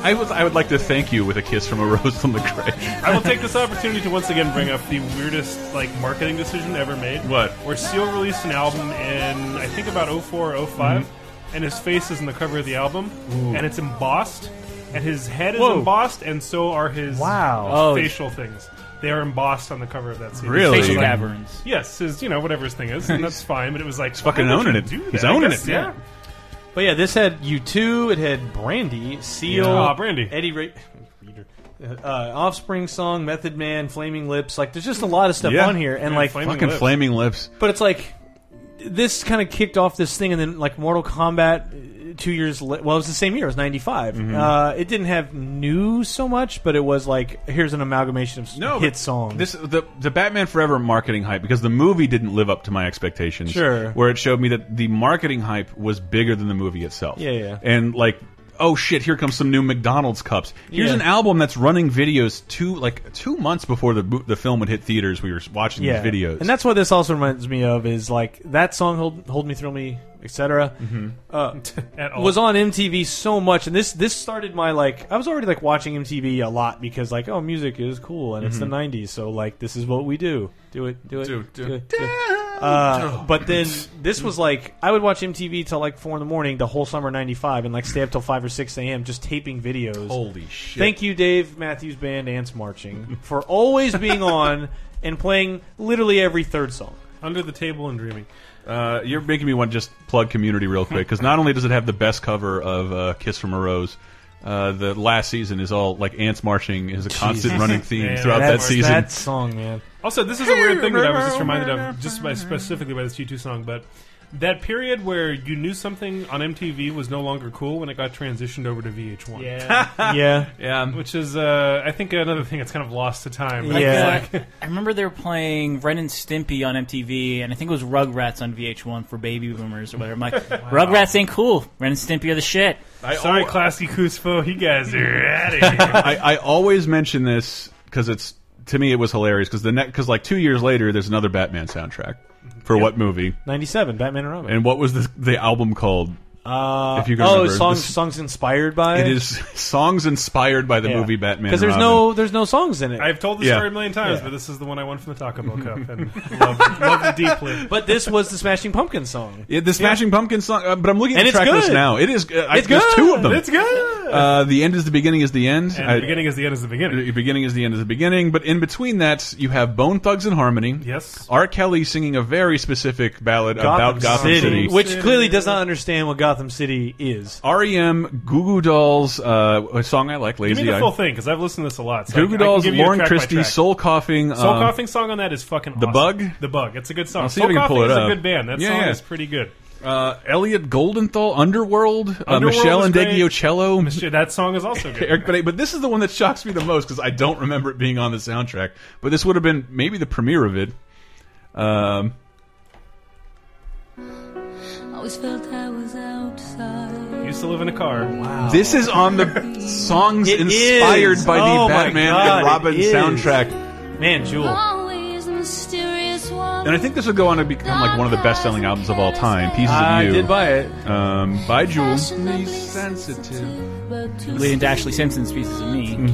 Speaker 2: I was I would like to thank you with a kiss from a rose on the grave.
Speaker 3: I will take this opportunity to once again bring up the weirdest like marketing decision ever made.
Speaker 2: What?
Speaker 3: Where Seal released an album in I think about 04 or 5
Speaker 2: Mm-hmm.
Speaker 3: and his face is in the cover of the album and it's embossed and his head is
Speaker 5: Whoa.
Speaker 3: embossed and so are his
Speaker 5: Wow.
Speaker 3: uh,
Speaker 5: Oh.
Speaker 3: facial things. They are embossed on the cover of that CD.
Speaker 2: Really?
Speaker 4: facial
Speaker 2: Like-
Speaker 4: caverns.
Speaker 3: Yes, his you know whatever his thing is, and that's fine. But it was like he's
Speaker 2: fucking owning it. He's owning it, yeah.
Speaker 3: Yeah.
Speaker 5: But yeah, this had U2, it had Brandy, Seal,
Speaker 2: Ah,
Speaker 3: Yeah. Aw, Brandy.
Speaker 5: Eddie Ray, Reader, uh, Offspring song, Method Man, Flaming Lips. Like, there's just a lot of stuff
Speaker 2: Yeah.
Speaker 5: on here, and
Speaker 3: Yeah,
Speaker 5: like,
Speaker 3: Flaming
Speaker 2: Fucking
Speaker 3: lips.
Speaker 2: flaming lips.
Speaker 5: but it's like this kind of kicked off this thing, and then like Mortal Kombat, uh, two years la- well, it was the same year. It was ninety
Speaker 2: Mm-hmm.
Speaker 5: Uh, it didn't have new so much, but it was like here's an amalgamation of s-
Speaker 2: No
Speaker 5: hit
Speaker 2: but
Speaker 5: songs.
Speaker 2: This the the Batman Forever marketing hype because the movie didn't live up to my expectations.
Speaker 5: Sure.
Speaker 2: where it showed me that the marketing hype was bigger than the movie itself.
Speaker 5: Yeah, yeah.
Speaker 2: and like. Oh shit! Here comes some new McDonald's cups. Here's
Speaker 5: Yeah.
Speaker 2: an album that's running videos two like two months before the mo- the film would hit theaters. We were watching
Speaker 5: yeah,
Speaker 2: these videos,
Speaker 5: and that's what this also reminds me of is like that song "Hold, Hold Me, Thrill Me," etc.
Speaker 2: Mm-hmm.
Speaker 3: At all.
Speaker 5: was on MTV so much, and this this started my like I was already like watching MTV a lot because like oh music is cool and it's the '90s, so like this is what we do. Do it, do it,
Speaker 2: Mm-hmm. Do- do-
Speaker 5: it, do it.
Speaker 2: Oh,
Speaker 5: Uh, but then this was like I would watch MTV till like four in the morning the whole summer '95, and like stay up till five or six a.m. just taping videos.
Speaker 2: holy shit!
Speaker 5: Thank you, Dave Matthews Band, Ants Marching, for always being on and playing literally every third song.
Speaker 3: Under the Table and Dreaming.
Speaker 2: Uh, you're making me want to just plug Community real quick because not only does it have the best cover of uh, "Kiss from a Rose," uh, the last season is all like ants marching is a constant running theme
Speaker 3: Man,
Speaker 2: throughout that
Speaker 5: That's
Speaker 2: season.
Speaker 5: that song, man.
Speaker 3: Also, this is a weird thing that I was just reminded of, just by specifically by this G2 song, but that period where you knew something on MTV was no longer cool when it got transitioned over to VH1.
Speaker 4: Yeah.
Speaker 5: yeah,
Speaker 2: Yeah,
Speaker 3: Which is, uh, I think, another thing that's kind of lost to time. But
Speaker 5: Yeah.
Speaker 3: it's like-
Speaker 4: I remember they were playing Ren and Stimpy on MTV, and I think it was Rugrats on VH1 for baby boomers or whatever. I'm like, Rugrats ain't cool. Ren and Stimpy are the shit.
Speaker 3: sorry, Classy Kuzfo, you guys are out of here.
Speaker 2: I, I always mention this because it's to me it was hilarious because the next because like two years later there's another Batman soundtrack for what movie
Speaker 5: '97, Batman and Robin.
Speaker 2: and what was the the album called?
Speaker 5: Uh,
Speaker 2: If you can
Speaker 5: oh,
Speaker 2: remember,
Speaker 5: songs
Speaker 2: this-
Speaker 5: songs inspired by
Speaker 2: It is songs inspired by the movie Batman
Speaker 5: because
Speaker 2: and
Speaker 5: there's
Speaker 2: Robin.
Speaker 5: no there's no songs in it.
Speaker 3: I've told this
Speaker 2: Yeah.
Speaker 3: story a million times, but this is the one I won from the Taco Bell Cup, and love, love it deeply.
Speaker 5: but this was the Smashing Pumpkins song.
Speaker 2: Yeah, the Smashing Pumpkins song, uh, but I'm looking at
Speaker 5: And
Speaker 2: the
Speaker 5: it's
Speaker 2: track list
Speaker 5: good.
Speaker 2: now. It is. Uh, I,
Speaker 5: It's
Speaker 2: There's
Speaker 5: good.
Speaker 2: two of them.
Speaker 3: It's good.
Speaker 2: Uh, the end is the beginning is the end.
Speaker 3: and
Speaker 2: I-
Speaker 3: the beginning is the end is the beginning.
Speaker 2: the beginning is the end is the beginning. But in between that, you have Bone Thugs and Harmony.
Speaker 3: Yes.
Speaker 2: R. Kelly singing a very specific ballad about Gotham City.
Speaker 5: which clearly does not understand what Gotham City is.
Speaker 2: REM, Goo Goo Dolls, uh, a song I like,
Speaker 3: Give
Speaker 2: Lazy
Speaker 3: me the
Speaker 2: Eye.
Speaker 3: full thing because I've listened to this a lot. So I
Speaker 2: Goo
Speaker 3: can-
Speaker 2: Goo
Speaker 3: I can
Speaker 2: Dolls,
Speaker 3: give you a
Speaker 2: Lauren
Speaker 3: track by
Speaker 2: Christie,
Speaker 3: track.
Speaker 2: Soul Coughing.
Speaker 3: Soul
Speaker 2: um,
Speaker 3: Coughing song on that is fucking
Speaker 2: The
Speaker 3: awesome.
Speaker 2: Bug?
Speaker 3: The Bug. It's a good song.
Speaker 2: I'll see if
Speaker 3: Soul
Speaker 2: I can
Speaker 3: Coughing
Speaker 2: pull it
Speaker 3: is a
Speaker 2: up.
Speaker 3: good band. That
Speaker 2: Yeah,
Speaker 3: song
Speaker 2: yeah.
Speaker 3: is pretty good.
Speaker 2: Uh, Elliot Goldenthal, Underworld, uh,
Speaker 3: Underworld
Speaker 2: Michelle
Speaker 3: was
Speaker 2: and
Speaker 3: great.
Speaker 2: Deggio Cello.
Speaker 3: Shit, That song is also good.
Speaker 2: Eric Benet, but this is the one that shocks me the most because I don't remember it being on the soundtrack. But this would have been maybe the premiere of it. Um,
Speaker 8: Always felt I was outside.
Speaker 3: Used to live in a car.
Speaker 2: This is on the songs
Speaker 5: It
Speaker 2: inspired
Speaker 5: is.
Speaker 2: by the
Speaker 5: Oh my
Speaker 2: Batman
Speaker 5: God,
Speaker 2: and Robin
Speaker 5: it is.
Speaker 2: soundtrack.
Speaker 5: Man, Jewel.
Speaker 8: Always mysterious one.
Speaker 2: And I think this would go on to become like one of the best selling albums of all time, Pieces
Speaker 5: I
Speaker 2: of You.
Speaker 5: did buy it.
Speaker 2: um, by Jewel.
Speaker 8: Passionately but too
Speaker 4: Leading to Ashley Simpson's Pieces of Me.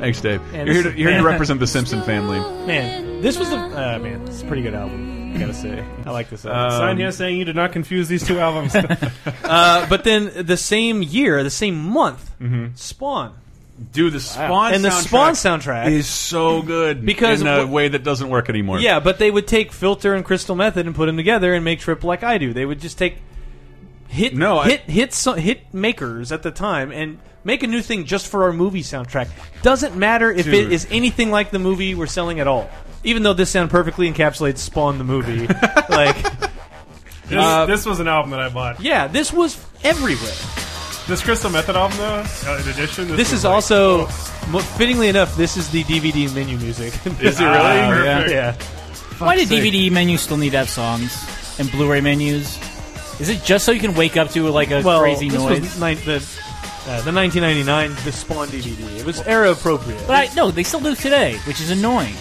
Speaker 2: Thanks, Dave. You're here, to, you're here to represent the Simpson family.
Speaker 5: Man, this was the uh, man. It's a pretty good album. I gotta say, I like this album.
Speaker 3: Sign here saying you did not confuse these two albums.
Speaker 5: Uh, but then the same year, the same month, Mm-hmm. Spawn
Speaker 2: Dude, the Spawn
Speaker 5: and the Spawn soundtrack.
Speaker 2: is so good
Speaker 5: Because
Speaker 2: in a
Speaker 5: wh-
Speaker 2: way that doesn't work anymore.
Speaker 5: yeah, but they would take Filter and Crystal Method and put them together and make Trip like I do. They would just take hit
Speaker 2: No, I-
Speaker 5: hit hit so- hit makers at the time and make a new thing just for our movie soundtrack. Doesn't matter if
Speaker 2: Dude.
Speaker 5: it is anything like the movie we're selling at all. Even though this sound perfectly encapsulates Spawn the movie, like
Speaker 3: this,
Speaker 2: Uh,
Speaker 3: this was an album that I bought.
Speaker 5: yeah, this was everywhere.
Speaker 3: This Crystal Method album, though, uh, in addition, this,
Speaker 5: This
Speaker 3: was
Speaker 5: is
Speaker 3: like- oh,
Speaker 5: also, mo- fittingly enough, this is the DVD menu music. Ah,
Speaker 2: Is it really?
Speaker 5: yeah.
Speaker 3: Perfect.
Speaker 5: yeah.
Speaker 4: Why do DVD menus still need to have songs and Blu-ray menus? Is it just so you can wake up to like a
Speaker 5: Well,
Speaker 4: crazy
Speaker 5: this
Speaker 4: noise?
Speaker 5: was ni- the, uh, the 1999 the Spawn DVD. It was era appropriate.
Speaker 4: But I, no, they still do today, which is annoying.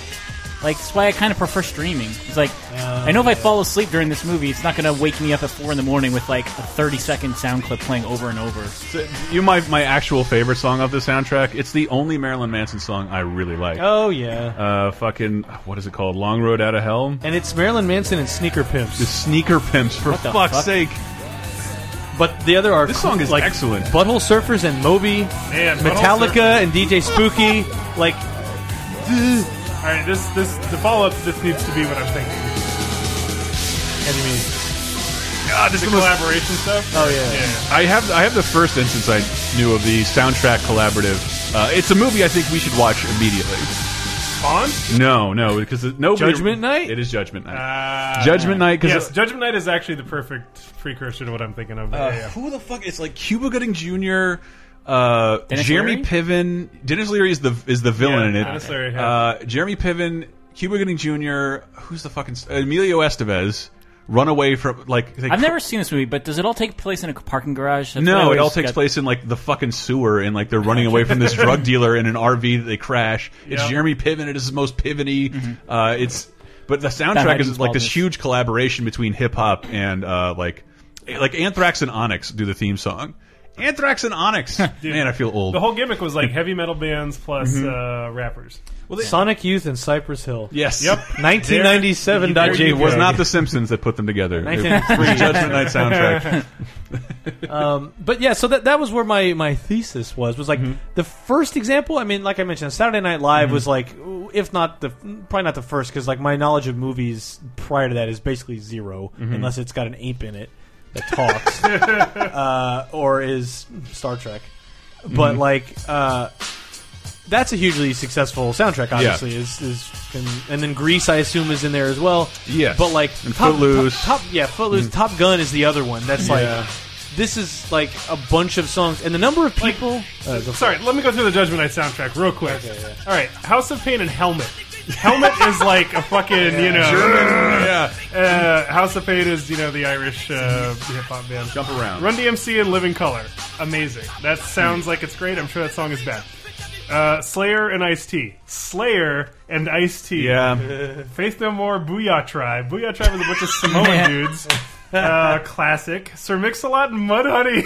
Speaker 4: Like that's why I kind of prefer streaming. It's like I know if I fall asleep during this movie, it's not going to wake me up at four in the morning with like a thirty-second sound clip playing over and over.
Speaker 2: So, you my my actual favorite song off the soundtrack. It's the only Marilyn Manson song I really like.
Speaker 5: oh yeah,
Speaker 2: Uh, fucking what is it called? Long Road Out of Hell.
Speaker 5: and it's Marilyn Manson and Sneaker
Speaker 2: The
Speaker 5: Pimps.
Speaker 2: sneaker pimps, for
Speaker 4: the
Speaker 2: fuck's
Speaker 4: fuck?
Speaker 2: sake.
Speaker 5: But the other are
Speaker 2: This song is
Speaker 5: like
Speaker 2: excellent.
Speaker 5: Butthole Surfers and Moby,
Speaker 3: Man, Butthole
Speaker 5: Metallica and DJ Spooky. Like
Speaker 3: All right, this this the follow up. This needs to be what I'm thinking.
Speaker 5: heavy music.
Speaker 3: God, this the collaboration stuff.
Speaker 5: Oh yeah.
Speaker 3: yeah.
Speaker 2: I have I have the first instance I knew of the soundtrack collaborative. Uh, it's a movie I think we should watch immediately.
Speaker 3: Bond?
Speaker 2: No, no, because it- nobody.
Speaker 5: Judgment Night?
Speaker 2: It is Judgment Night.
Speaker 3: Uh,
Speaker 2: Judgment Night, because
Speaker 3: Yes, Judgment Night is actually the perfect precursor to what I'm thinking of. yeah, yeah.
Speaker 2: who the fuck? It's like Cuba Gooding Jr. Uh,
Speaker 4: Dennis
Speaker 2: Jeremy
Speaker 4: Leary?
Speaker 2: Piven. Dennis Leary is the is the villain
Speaker 3: Yeah,
Speaker 2: in it.
Speaker 3: Dennis Leary, yeah.
Speaker 2: uh, Jeremy Piven, Cuba Gooding Jr. Who's the fucking Emilio Estevez? Run away from like. they-
Speaker 4: I've never seen this movie, but does it all take place in a parking garage? That's what I
Speaker 2: No, it
Speaker 4: always
Speaker 2: all takes
Speaker 4: got-
Speaker 2: place in like the fucking sewer, and like they're running away from this drug dealer in an RV that they crash. It's
Speaker 3: Yeah.
Speaker 2: Jeremy Piven at his most pivety. Uh, it's but the soundtrack
Speaker 4: hiding
Speaker 2: is like this
Speaker 4: smallness.
Speaker 2: huge collaboration between hip hop and uh, like like Anthrax and Onyx do the theme song. Anthrax and Onyx, man, I feel old.
Speaker 3: The whole gimmick was like heavy metal bands plus uh, rappers.
Speaker 5: Sonic Youth and Cypress Hill.
Speaker 2: yes,
Speaker 3: Yep.
Speaker 5: 1997.
Speaker 3: There you
Speaker 2: It was
Speaker 3: go.
Speaker 2: not the Simpsons that put them together. It was
Speaker 5: 1993.
Speaker 2: Judgment Night soundtrack.
Speaker 5: Um, but yeah, so that that was where my my thesis was was like the first example. I mean, like I mentioned, Saturday Night Live was like, if not the probably not the first because like my knowledge of movies prior to that is basically 0 unless it's got an ape in it that talks uh, or is Star Trek. But like. Uh, that's a hugely successful soundtrack. Obviously, is is and, and then Grease, I assume, is in there as well.
Speaker 2: Yes.
Speaker 5: but like
Speaker 2: And
Speaker 5: Top-
Speaker 2: Footloose. Mm-hmm.
Speaker 5: Top, top, yeah, Footloose. Top Gun is the other one. That's
Speaker 2: Yeah.
Speaker 5: like this is like a bunch of songs, and the number of people. Uh, go for
Speaker 3: Sorry,
Speaker 5: it.
Speaker 3: let me go through the Judgment Night soundtrack real quick. All right, House of Pain and Helmet. Helmet is like a fucking you know.
Speaker 2: yeah,
Speaker 3: Uh, House of Pain is you know the Irish uh, hip hop band.
Speaker 2: jump around.
Speaker 3: Run DMC and Living Color, amazing. That sounds like it's great. I'm sure that song is bad. Uh, Slayer and Ice T. Slayer and Ice T.
Speaker 2: Yeah,
Speaker 3: Faith No More, Booyah Tribe. Booyah Tribe is a bunch of Samoan dudes. Uh, classic. Sir Mix-a-Lot and Mud Honey.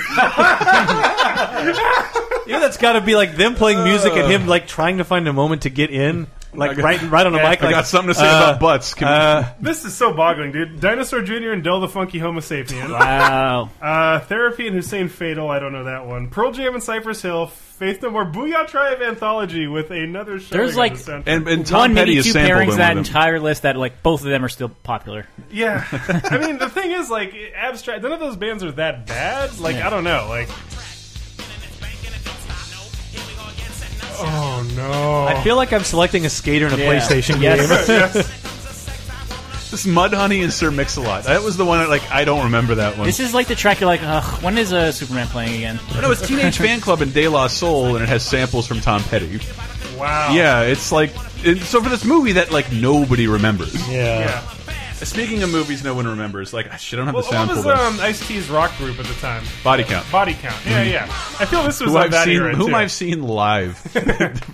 Speaker 5: you know that's got to be like them playing music and
Speaker 2: Uh.
Speaker 5: him like trying to find a moment to get in, like
Speaker 2: got-
Speaker 5: right right on the mic.
Speaker 2: I
Speaker 5: like,
Speaker 2: got something to say
Speaker 5: uh,
Speaker 2: about butts. Can we-
Speaker 5: Uh,
Speaker 3: this is so boggling, dude. Dinosaur Jr. and Del the Funky Homo Sapien.
Speaker 4: Wow.
Speaker 3: Uh, Therapy and Hussein Fatal. I don't know that one. Pearl Jam and Cypress Hill. Faith No More, Booyah Tribe anthology with another show.
Speaker 4: There's like-
Speaker 2: and, and Tom Petty
Speaker 4: One, maybe
Speaker 2: is
Speaker 4: two
Speaker 2: sampled in
Speaker 4: pairings
Speaker 2: one
Speaker 4: of that
Speaker 2: of them.
Speaker 4: entire list that like both of them are still popular.
Speaker 3: Yeah, I mean the thing is like abstract. None of those bands are that bad. Like I don't know. Like oh no,
Speaker 5: I feel like I'm selecting a skater in a
Speaker 4: Yeah.
Speaker 5: PlayStation
Speaker 4: Yes.
Speaker 5: game.
Speaker 2: This Mud Honey and Sir Mix-a-Lot. That was the one. that, Like I don't remember that one.
Speaker 4: This is like the track you're like, ugh, when is uh, Superman playing again?
Speaker 2: no, it's Teenage Fan Club and De La Soul, and it has samples from Tom Petty.
Speaker 3: wow.
Speaker 2: Yeah, it's like it, so for this movie that like nobody remembers.
Speaker 3: Yeah.
Speaker 2: Speaking of movies, no one remembers. Like ah, shit, I don't have
Speaker 3: Well,
Speaker 2: the sound
Speaker 3: what
Speaker 2: for
Speaker 3: was
Speaker 2: this.
Speaker 3: um, Ice T's rock group at the time?
Speaker 2: Body count.
Speaker 3: Body Count. Yeah, yeah. I feel this was
Speaker 2: Who
Speaker 3: like
Speaker 2: I've
Speaker 3: that
Speaker 2: seen,
Speaker 3: era
Speaker 2: whom
Speaker 3: too.
Speaker 2: I've seen live.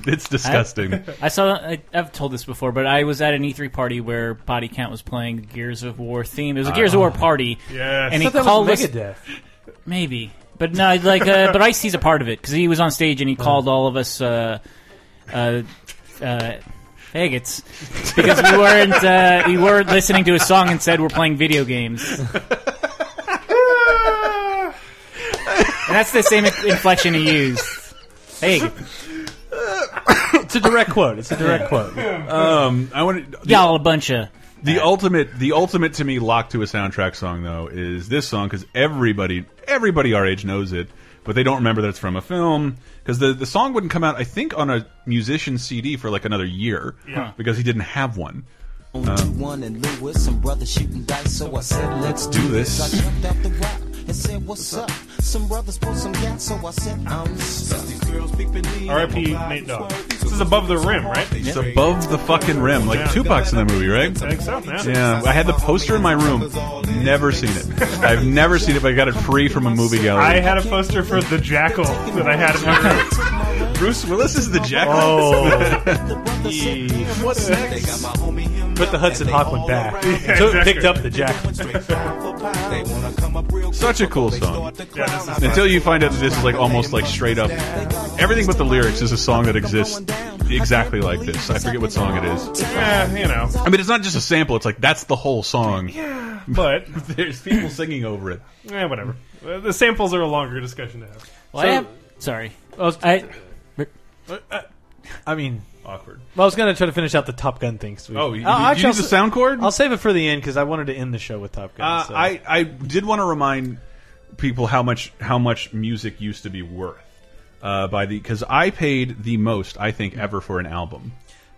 Speaker 2: it's disgusting.
Speaker 4: I saw. I, I've told this before, but I was at an E3 party where Body Count was playing Gears of War theme. It was a Gears of War party.
Speaker 3: Yes.
Speaker 4: and
Speaker 5: I
Speaker 4: he
Speaker 5: thought that
Speaker 4: called
Speaker 5: was
Speaker 4: us
Speaker 5: Megadeth.
Speaker 4: maybe, but no, like, uh, but Ice T's a part of it because he was on stage and he called all of us uh, uh, uh, faggots because we weren't uh, we weren't listening to a song and said we're playing video games. and that's the same inflection he used. Hey,
Speaker 5: It's a direct quote. It's a direct quote.
Speaker 2: Um, I want to.
Speaker 4: y'all a bunch of.
Speaker 2: The ultimate, the ultimate to me locked to a soundtrack song though is this song because everybody, everybody our age knows it, but they don't remember that it's from a film because the the song wouldn't come out I think on a musician CD for like another year because he didn't have one.
Speaker 9: One and Lewis, some brothers shooting dice, so I said, let's do
Speaker 2: this.
Speaker 9: I jumped out the rock and said, what's up? Some brothers pulled some gas, so I said, I'm stuck. These girls peeping in.
Speaker 3: R.I.P. Nate Dogg. This is above the rim, right?
Speaker 2: It's above the fucking rim, like
Speaker 3: Yeah.
Speaker 2: Tupac's in that movie, right?
Speaker 3: I think so, man.
Speaker 2: Yeah, I had the poster in my room. Never seen it. I've never seen it, but I got it free from a movie
Speaker 3: I
Speaker 2: gallery.
Speaker 3: had a poster for The Jackal that I had in my room.
Speaker 2: Bruce Willis is the jackal.
Speaker 3: Oh.
Speaker 9: What's next?
Speaker 5: Put the Hudson Hawk one back. So it picked up the jack.
Speaker 2: Such a cool song. Until you find out that this is like almost like straight up everything but the lyrics is a song that exists exactly like this. I forget what song it is.
Speaker 3: Yeah, you know.
Speaker 2: I mean, it's not just a sample. It's like that's the whole song.
Speaker 3: But
Speaker 2: There's people singing over it.
Speaker 3: eh, whatever. Uh, The samples are a longer discussion to have.
Speaker 4: Well, I am- sorry.
Speaker 5: was-
Speaker 4: I,
Speaker 5: I mean,
Speaker 2: Awkward.
Speaker 5: well, I was gonna try to finish out the Top Gun thing. 'cause we-
Speaker 2: Oh, you,
Speaker 5: I'll-
Speaker 2: you
Speaker 5: actually,
Speaker 2: use the
Speaker 5: I'll-
Speaker 2: sound chord?
Speaker 5: I'll save it for the end because I wanted to end the show with Top Gun.
Speaker 2: Uh,
Speaker 5: so.
Speaker 2: I I did want to remind people how much how much music used to be worth uh, by the because I paid the most I think ever for an album.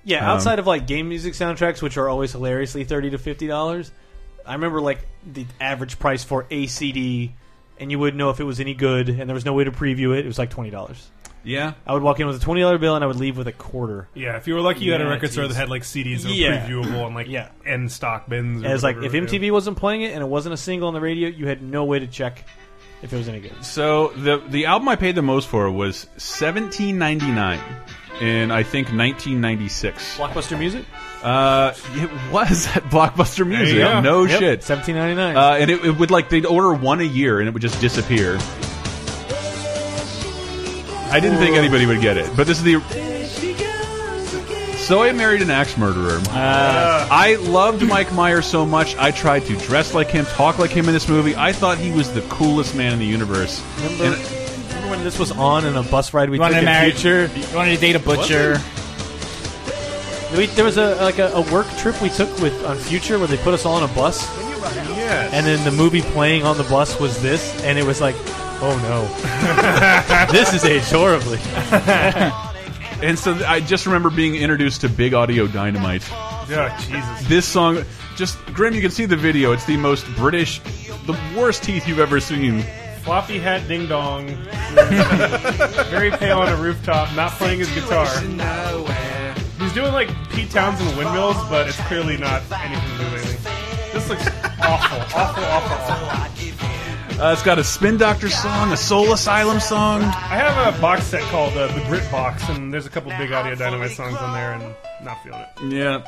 Speaker 5: Yeah, outside of like game music soundtracks, which are always hilariously thirty to fifty dollars, I remember like the average price for a CD, and you wouldn't know if it was any good, and there was no way to preview it. It was like twenty dollars.
Speaker 2: Yeah.
Speaker 5: I would walk in with a twenty dollar bill, and I would leave with a quarter.
Speaker 3: Yeah, if you were lucky, you had a
Speaker 5: Yeah,
Speaker 3: record store
Speaker 5: geez.
Speaker 3: that had like CDs that were
Speaker 5: Yeah.
Speaker 3: previewable and like
Speaker 5: Yeah.
Speaker 3: end stock bins. Or
Speaker 5: And it's like if
Speaker 3: whatever, yeah.
Speaker 5: MTV wasn't playing it and it wasn't a single on the radio, you had no way to check if it was any good.
Speaker 2: So the the album I paid the most for was 17.99 in I think 1996.
Speaker 5: Blockbuster music,
Speaker 2: Uh, it was at Blockbuster Music.
Speaker 3: go.
Speaker 2: No
Speaker 5: Yep,
Speaker 2: Oh, shit.
Speaker 5: seventeen ninety nine.
Speaker 2: Uh, and it, it would like they'd order one a year, and it would just disappear. I didn't think anybody would get it, but this is the. So I married an axe murderer. Uh, I loved Mike Myers so much. I tried to dress like him, talk like him in this movie. I thought he was the coolest man in the universe.
Speaker 5: remember, remember when this was on and a bus ride we
Speaker 4: You wanted
Speaker 5: took
Speaker 4: to
Speaker 5: in
Speaker 4: marry?
Speaker 5: future?
Speaker 4: You wanted to date a butcher?
Speaker 5: We, there was a like a, a work trip we took with on Future where they put us all on a bus,
Speaker 3: Yes.
Speaker 5: and then the movie playing on the bus was this, and it was like, oh no, this is aged horribly.
Speaker 2: And so I just remember being introduced to Big Audio Dynamite.
Speaker 3: Yeah, Jesus.
Speaker 2: This song, just Grim, you can see the video. It's the most British, the worst teeth you've ever seen.
Speaker 3: Floppy hat ding dong. Very pale on a rooftop, not playing his guitar. He's doing like Pete Townsend windmills, but it's clearly not anything to do with anything. This looks awful, awful, awful, awful.
Speaker 2: Uh, it's got a Spin Doctor song, a Soul Asylum song.
Speaker 3: I have a box set called uh, the Brit Box, and there's a couple big audio dynamite songs on there, and not feeling it.
Speaker 2: Yeah.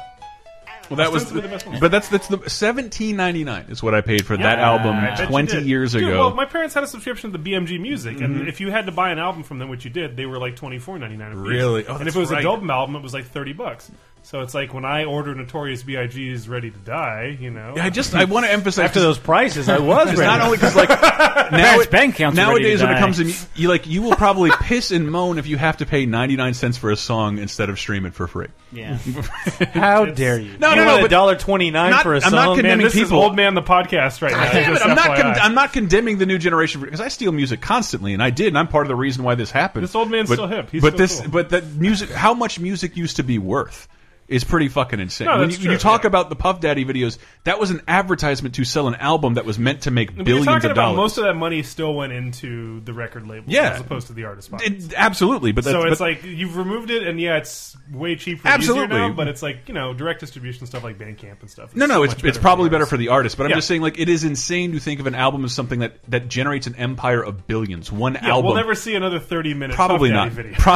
Speaker 2: Well, that was,
Speaker 3: Those were the best ones.
Speaker 2: but that's that's the seventeen ninety nine is what I paid for that
Speaker 3: I bet
Speaker 2: album
Speaker 3: you
Speaker 2: twenty
Speaker 3: did.
Speaker 2: years
Speaker 3: Dude,
Speaker 2: ago. Mm-hmm.
Speaker 3: Well, my parents had a subscription to the BMG Music, and if you had to buy an album from them, which you did, they were like twenty four ninety nine.
Speaker 2: Really? Oh,
Speaker 3: and
Speaker 2: that's
Speaker 3: if it was
Speaker 2: right.
Speaker 3: a Dolben album, it was like thirty bucks. So it's like when I order Notorious B.I.G.'s "Ready to Die," you know.
Speaker 2: I just I want to emphasize
Speaker 5: After those prices, I was
Speaker 2: It's not
Speaker 5: ready.
Speaker 2: only because like now
Speaker 4: Parents' bank accounts are ready
Speaker 2: nowadays
Speaker 4: to
Speaker 2: when it
Speaker 4: die.
Speaker 2: comes to mu- you like you will probably piss and moan if you have to pay ninety nine cents for a song instead of stream it for free.
Speaker 4: Yeah.
Speaker 5: How dare you?
Speaker 2: No,
Speaker 5: You
Speaker 2: no,
Speaker 5: want
Speaker 2: no,
Speaker 5: A
Speaker 2: but
Speaker 5: dollar twenty nine
Speaker 2: not-
Speaker 5: for a
Speaker 2: I'm
Speaker 5: song.
Speaker 2: not condemning
Speaker 3: Man, this is
Speaker 2: people-
Speaker 3: old man the podcast right now.
Speaker 2: Damn it,
Speaker 3: just
Speaker 2: I'm not
Speaker 3: FYI.
Speaker 2: con I'm not condemning the new generation because I steal music constantly and I did and I'm part of the reason why this happened.
Speaker 3: This old man's
Speaker 2: but,
Speaker 3: still hip. He's
Speaker 2: but
Speaker 3: still
Speaker 2: this
Speaker 3: cool.
Speaker 2: but that music how much music used to be worth is pretty fucking insane.
Speaker 3: No,
Speaker 2: when, you,
Speaker 3: that's
Speaker 2: when you
Speaker 3: true,
Speaker 2: talk
Speaker 3: yeah.
Speaker 2: about the Puff Daddy videos, that was an advertisement to sell an album that was meant to make
Speaker 3: We're
Speaker 2: billions
Speaker 3: talking
Speaker 2: of
Speaker 3: about
Speaker 2: dollars.
Speaker 3: most of that money still went into the record label,
Speaker 2: Yeah.
Speaker 3: as opposed to the artist. Box.
Speaker 2: It- absolutely, but that's,
Speaker 3: so it's
Speaker 2: but-
Speaker 3: like you've removed it, and yeah, it's way cheaper,
Speaker 2: Absolutely.
Speaker 3: easier now. But it's like you know, direct distribution stuff like Bandcamp and stuff. is
Speaker 2: No,
Speaker 3: so
Speaker 2: no, it's
Speaker 3: much
Speaker 2: it's
Speaker 3: for
Speaker 2: probably
Speaker 3: the
Speaker 2: better
Speaker 3: artist.
Speaker 2: for the artist, but I'm
Speaker 3: Yeah.
Speaker 2: just saying, like, it is insane to think of an album as something that that generates an empire of billions. One
Speaker 3: Yeah,
Speaker 2: album,
Speaker 3: we'll never see another thirty-minute
Speaker 2: probably not.
Speaker 3: Video.
Speaker 2: Pro-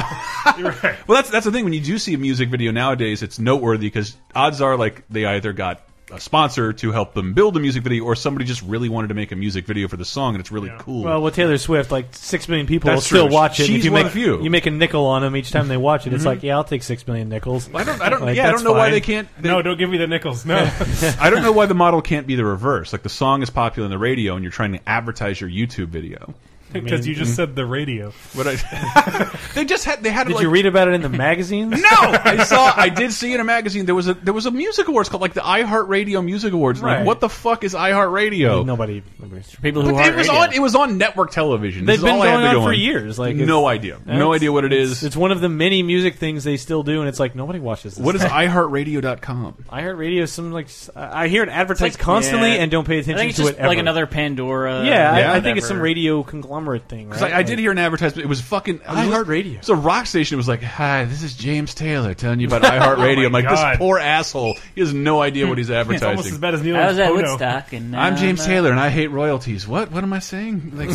Speaker 3: You're right.
Speaker 2: well, that's that's the thing. When you do see a music video nowadays, it's noteworthy because odds are, like, they either got a sponsor to help them build a music video, or somebody just really wanted to make a music video for the song, and it's really
Speaker 3: Yeah.
Speaker 2: cool.
Speaker 5: Well, with Taylor Swift, like six million people
Speaker 2: That's
Speaker 5: will still
Speaker 2: true.
Speaker 5: watch it.
Speaker 2: She's
Speaker 5: if you
Speaker 2: one
Speaker 5: make
Speaker 2: of the few. Mm-hmm.
Speaker 5: you make a nickel on them each time they watch it. It's like, yeah, I'll take six million nickels.
Speaker 2: I don't, I don't,
Speaker 5: Like,
Speaker 2: yeah, I
Speaker 5: that's
Speaker 2: don't know why
Speaker 5: fine.
Speaker 2: they can't. They,
Speaker 3: No, don't give me the nickels. No,
Speaker 2: I don't know why the model can't be the reverse. Like, the song is popular on the radio, and you're trying to advertise your YouTube video.
Speaker 3: because you just said the radio.
Speaker 2: What I, they just had, they had.
Speaker 5: Did
Speaker 2: like,
Speaker 5: you read about it in the magazines?
Speaker 2: No, I saw. I did see in a magazine there was a there was a music awards called like the iHeartRadio Music Awards. Like,
Speaker 5: Right.
Speaker 2: what the fuck is iHeartRadio?
Speaker 5: Nobody. nobody's-
Speaker 4: People who
Speaker 2: But
Speaker 4: aren't
Speaker 2: it was
Speaker 4: radio.
Speaker 2: on. It was on network television. This
Speaker 5: They've
Speaker 2: is
Speaker 5: been
Speaker 2: all I have
Speaker 5: going
Speaker 2: to
Speaker 5: on
Speaker 2: go
Speaker 5: for years. Like it's-
Speaker 2: no idea. No
Speaker 5: It's-
Speaker 2: idea what it is.
Speaker 5: It's one of the many music things they still do, and it's like nobody watches this.
Speaker 2: what is iHeartRadio.com?
Speaker 5: iHeartRadio? is Some like s- I I hear it advertised constantly
Speaker 4: yeah.
Speaker 5: and don't pay
Speaker 4: I
Speaker 5: attention
Speaker 4: think it's
Speaker 5: to
Speaker 4: just
Speaker 5: it. Ever.
Speaker 4: like another Pandora.
Speaker 5: Yeah,
Speaker 2: Yeah.
Speaker 5: I, I think it's some
Speaker 4: whatever.
Speaker 5: radio conglomerate thing. Right?
Speaker 2: Because I, I did hear an advertisement. It was fucking
Speaker 5: iHeartRadio.
Speaker 2: It's a rock station. It was like, "Hi, this is James Taylor telling you about iHeartRadio."
Speaker 3: Oh
Speaker 2: I'm
Speaker 3: my
Speaker 2: like, this
Speaker 3: God.
Speaker 2: poor asshole. He has no idea what he's
Speaker 3: It's almost as
Speaker 2: advertising.
Speaker 3: bad as Neil.
Speaker 4: I was at
Speaker 3: Ono.
Speaker 4: Woodstock, and
Speaker 2: I'm
Speaker 4: uh,
Speaker 2: James
Speaker 4: uh,
Speaker 2: Taylor, and I hate royalties. What? What am I saying? Like,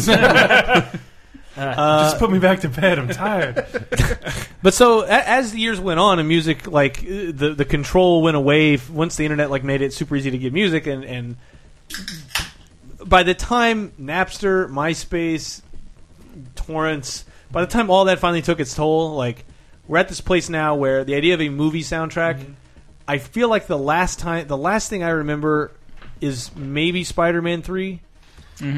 Speaker 3: Just put me back to bed. I'm tired.
Speaker 5: But so a, as the years went on, and music like uh, the the control went away f- once the internet like made it super easy to get music, and and by the time Napster, MySpace, torrents, by the time all that finally took its toll, like we're at this place now where the idea of a movie soundtrack, I feel like the last time, the last thing I remember is maybe Spider-Man 3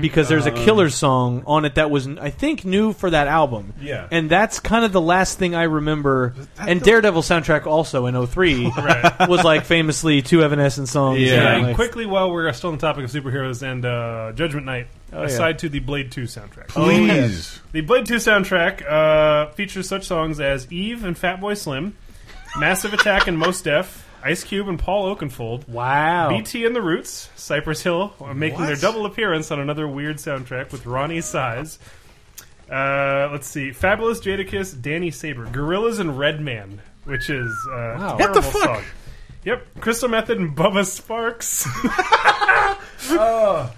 Speaker 5: Because there's a killer song on it that was, I think, new for that album.
Speaker 3: Yeah.
Speaker 5: And that's kind of the last thing I remember. And Daredevil soundtrack also in 03 was like famously two Evanescent songs.
Speaker 2: Yeah.
Speaker 5: and,
Speaker 3: And
Speaker 5: like-
Speaker 3: quickly, while we're still on the topic of superheroes and uh, Judgment Night,
Speaker 2: Oh,
Speaker 5: yeah.
Speaker 3: aside to the Blade Two soundtrack.
Speaker 2: please.
Speaker 3: The Blade 2 soundtrack uh, features such songs as Eve and Fatboy Slim, Massive Attack and Most Def, Ice Cube and Paul Oakenfold,
Speaker 5: Wow.
Speaker 3: BT and the Roots, Cypress Hill are making their double appearance on another weird soundtrack with Ronnie Size. Uh, let's see, Fabulous Jadakiss, Danny Saber, Gorillas and Redman, which is uh, a
Speaker 5: What
Speaker 3: terrible song. Yep, Crystal Method and Bubba Sparks.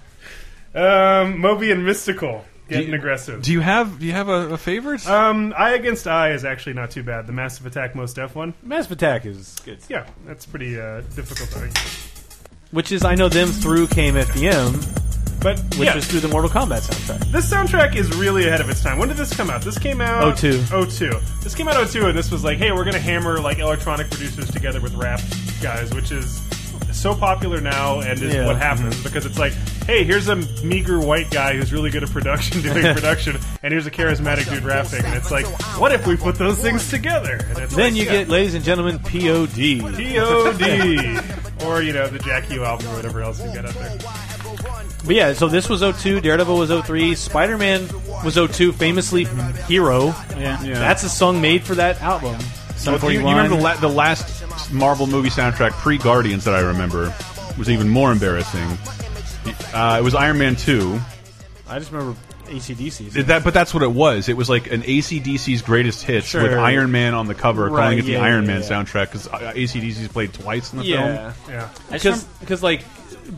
Speaker 3: um, Moby and Mystical getting
Speaker 2: you-
Speaker 3: aggressive.
Speaker 2: Do you have do you have a, a favorite?
Speaker 3: um, Eye Against Eye is actually not too bad. The Massive Attack Most Def one.
Speaker 5: Massive Attack is good.
Speaker 3: Yeah, that's pretty uh, difficult. I think.
Speaker 5: Which is, I know them through KMFDM,
Speaker 3: But
Speaker 5: which
Speaker 3: yeah,
Speaker 5: was through the Mortal Kombat soundtrack.
Speaker 3: this soundtrack is really ahead of its time. When did this come out? This came out
Speaker 5: 02.
Speaker 3: 02. This came out 02, and this was like, hey, we're gonna hammer like electronic producers together with rap guys, which is so popular now and is
Speaker 5: Yeah. Mm-hmm.
Speaker 3: what happens because it's like, hey, here's a meager white guy who's really good at production doing production, and here's a charismatic dude rapping, and it's like, what if we put those things together? And it's
Speaker 5: Then
Speaker 3: like,
Speaker 5: you
Speaker 3: yeah.
Speaker 5: get, ladies and gentlemen, POD.
Speaker 3: POD or you know the Jack U album or whatever else you got out there.
Speaker 5: But yeah, so this was 02, Daredevil was 03, Spider Man was 02, famously Hero.
Speaker 4: Yeah.
Speaker 5: That's a song made for that album.
Speaker 4: Some
Speaker 2: Do you, you
Speaker 4: 41.
Speaker 2: remember the, la the last Marvel movie soundtrack pre Guardians that I remember was even more embarrassing. Uh, it was Iron Man two.
Speaker 5: I just remember ACDC.
Speaker 2: Did That, but that's what it was. It was like an ACDC's greatest hits
Speaker 5: Sure.
Speaker 2: with Iron Man on the cover,
Speaker 5: Right,
Speaker 2: calling it the
Speaker 5: yeah,
Speaker 2: Iron
Speaker 5: yeah,
Speaker 2: Man
Speaker 5: yeah.
Speaker 2: soundtrack uh, because ACDC's played twice in the
Speaker 5: yeah.
Speaker 3: Yeah.
Speaker 5: Because, like,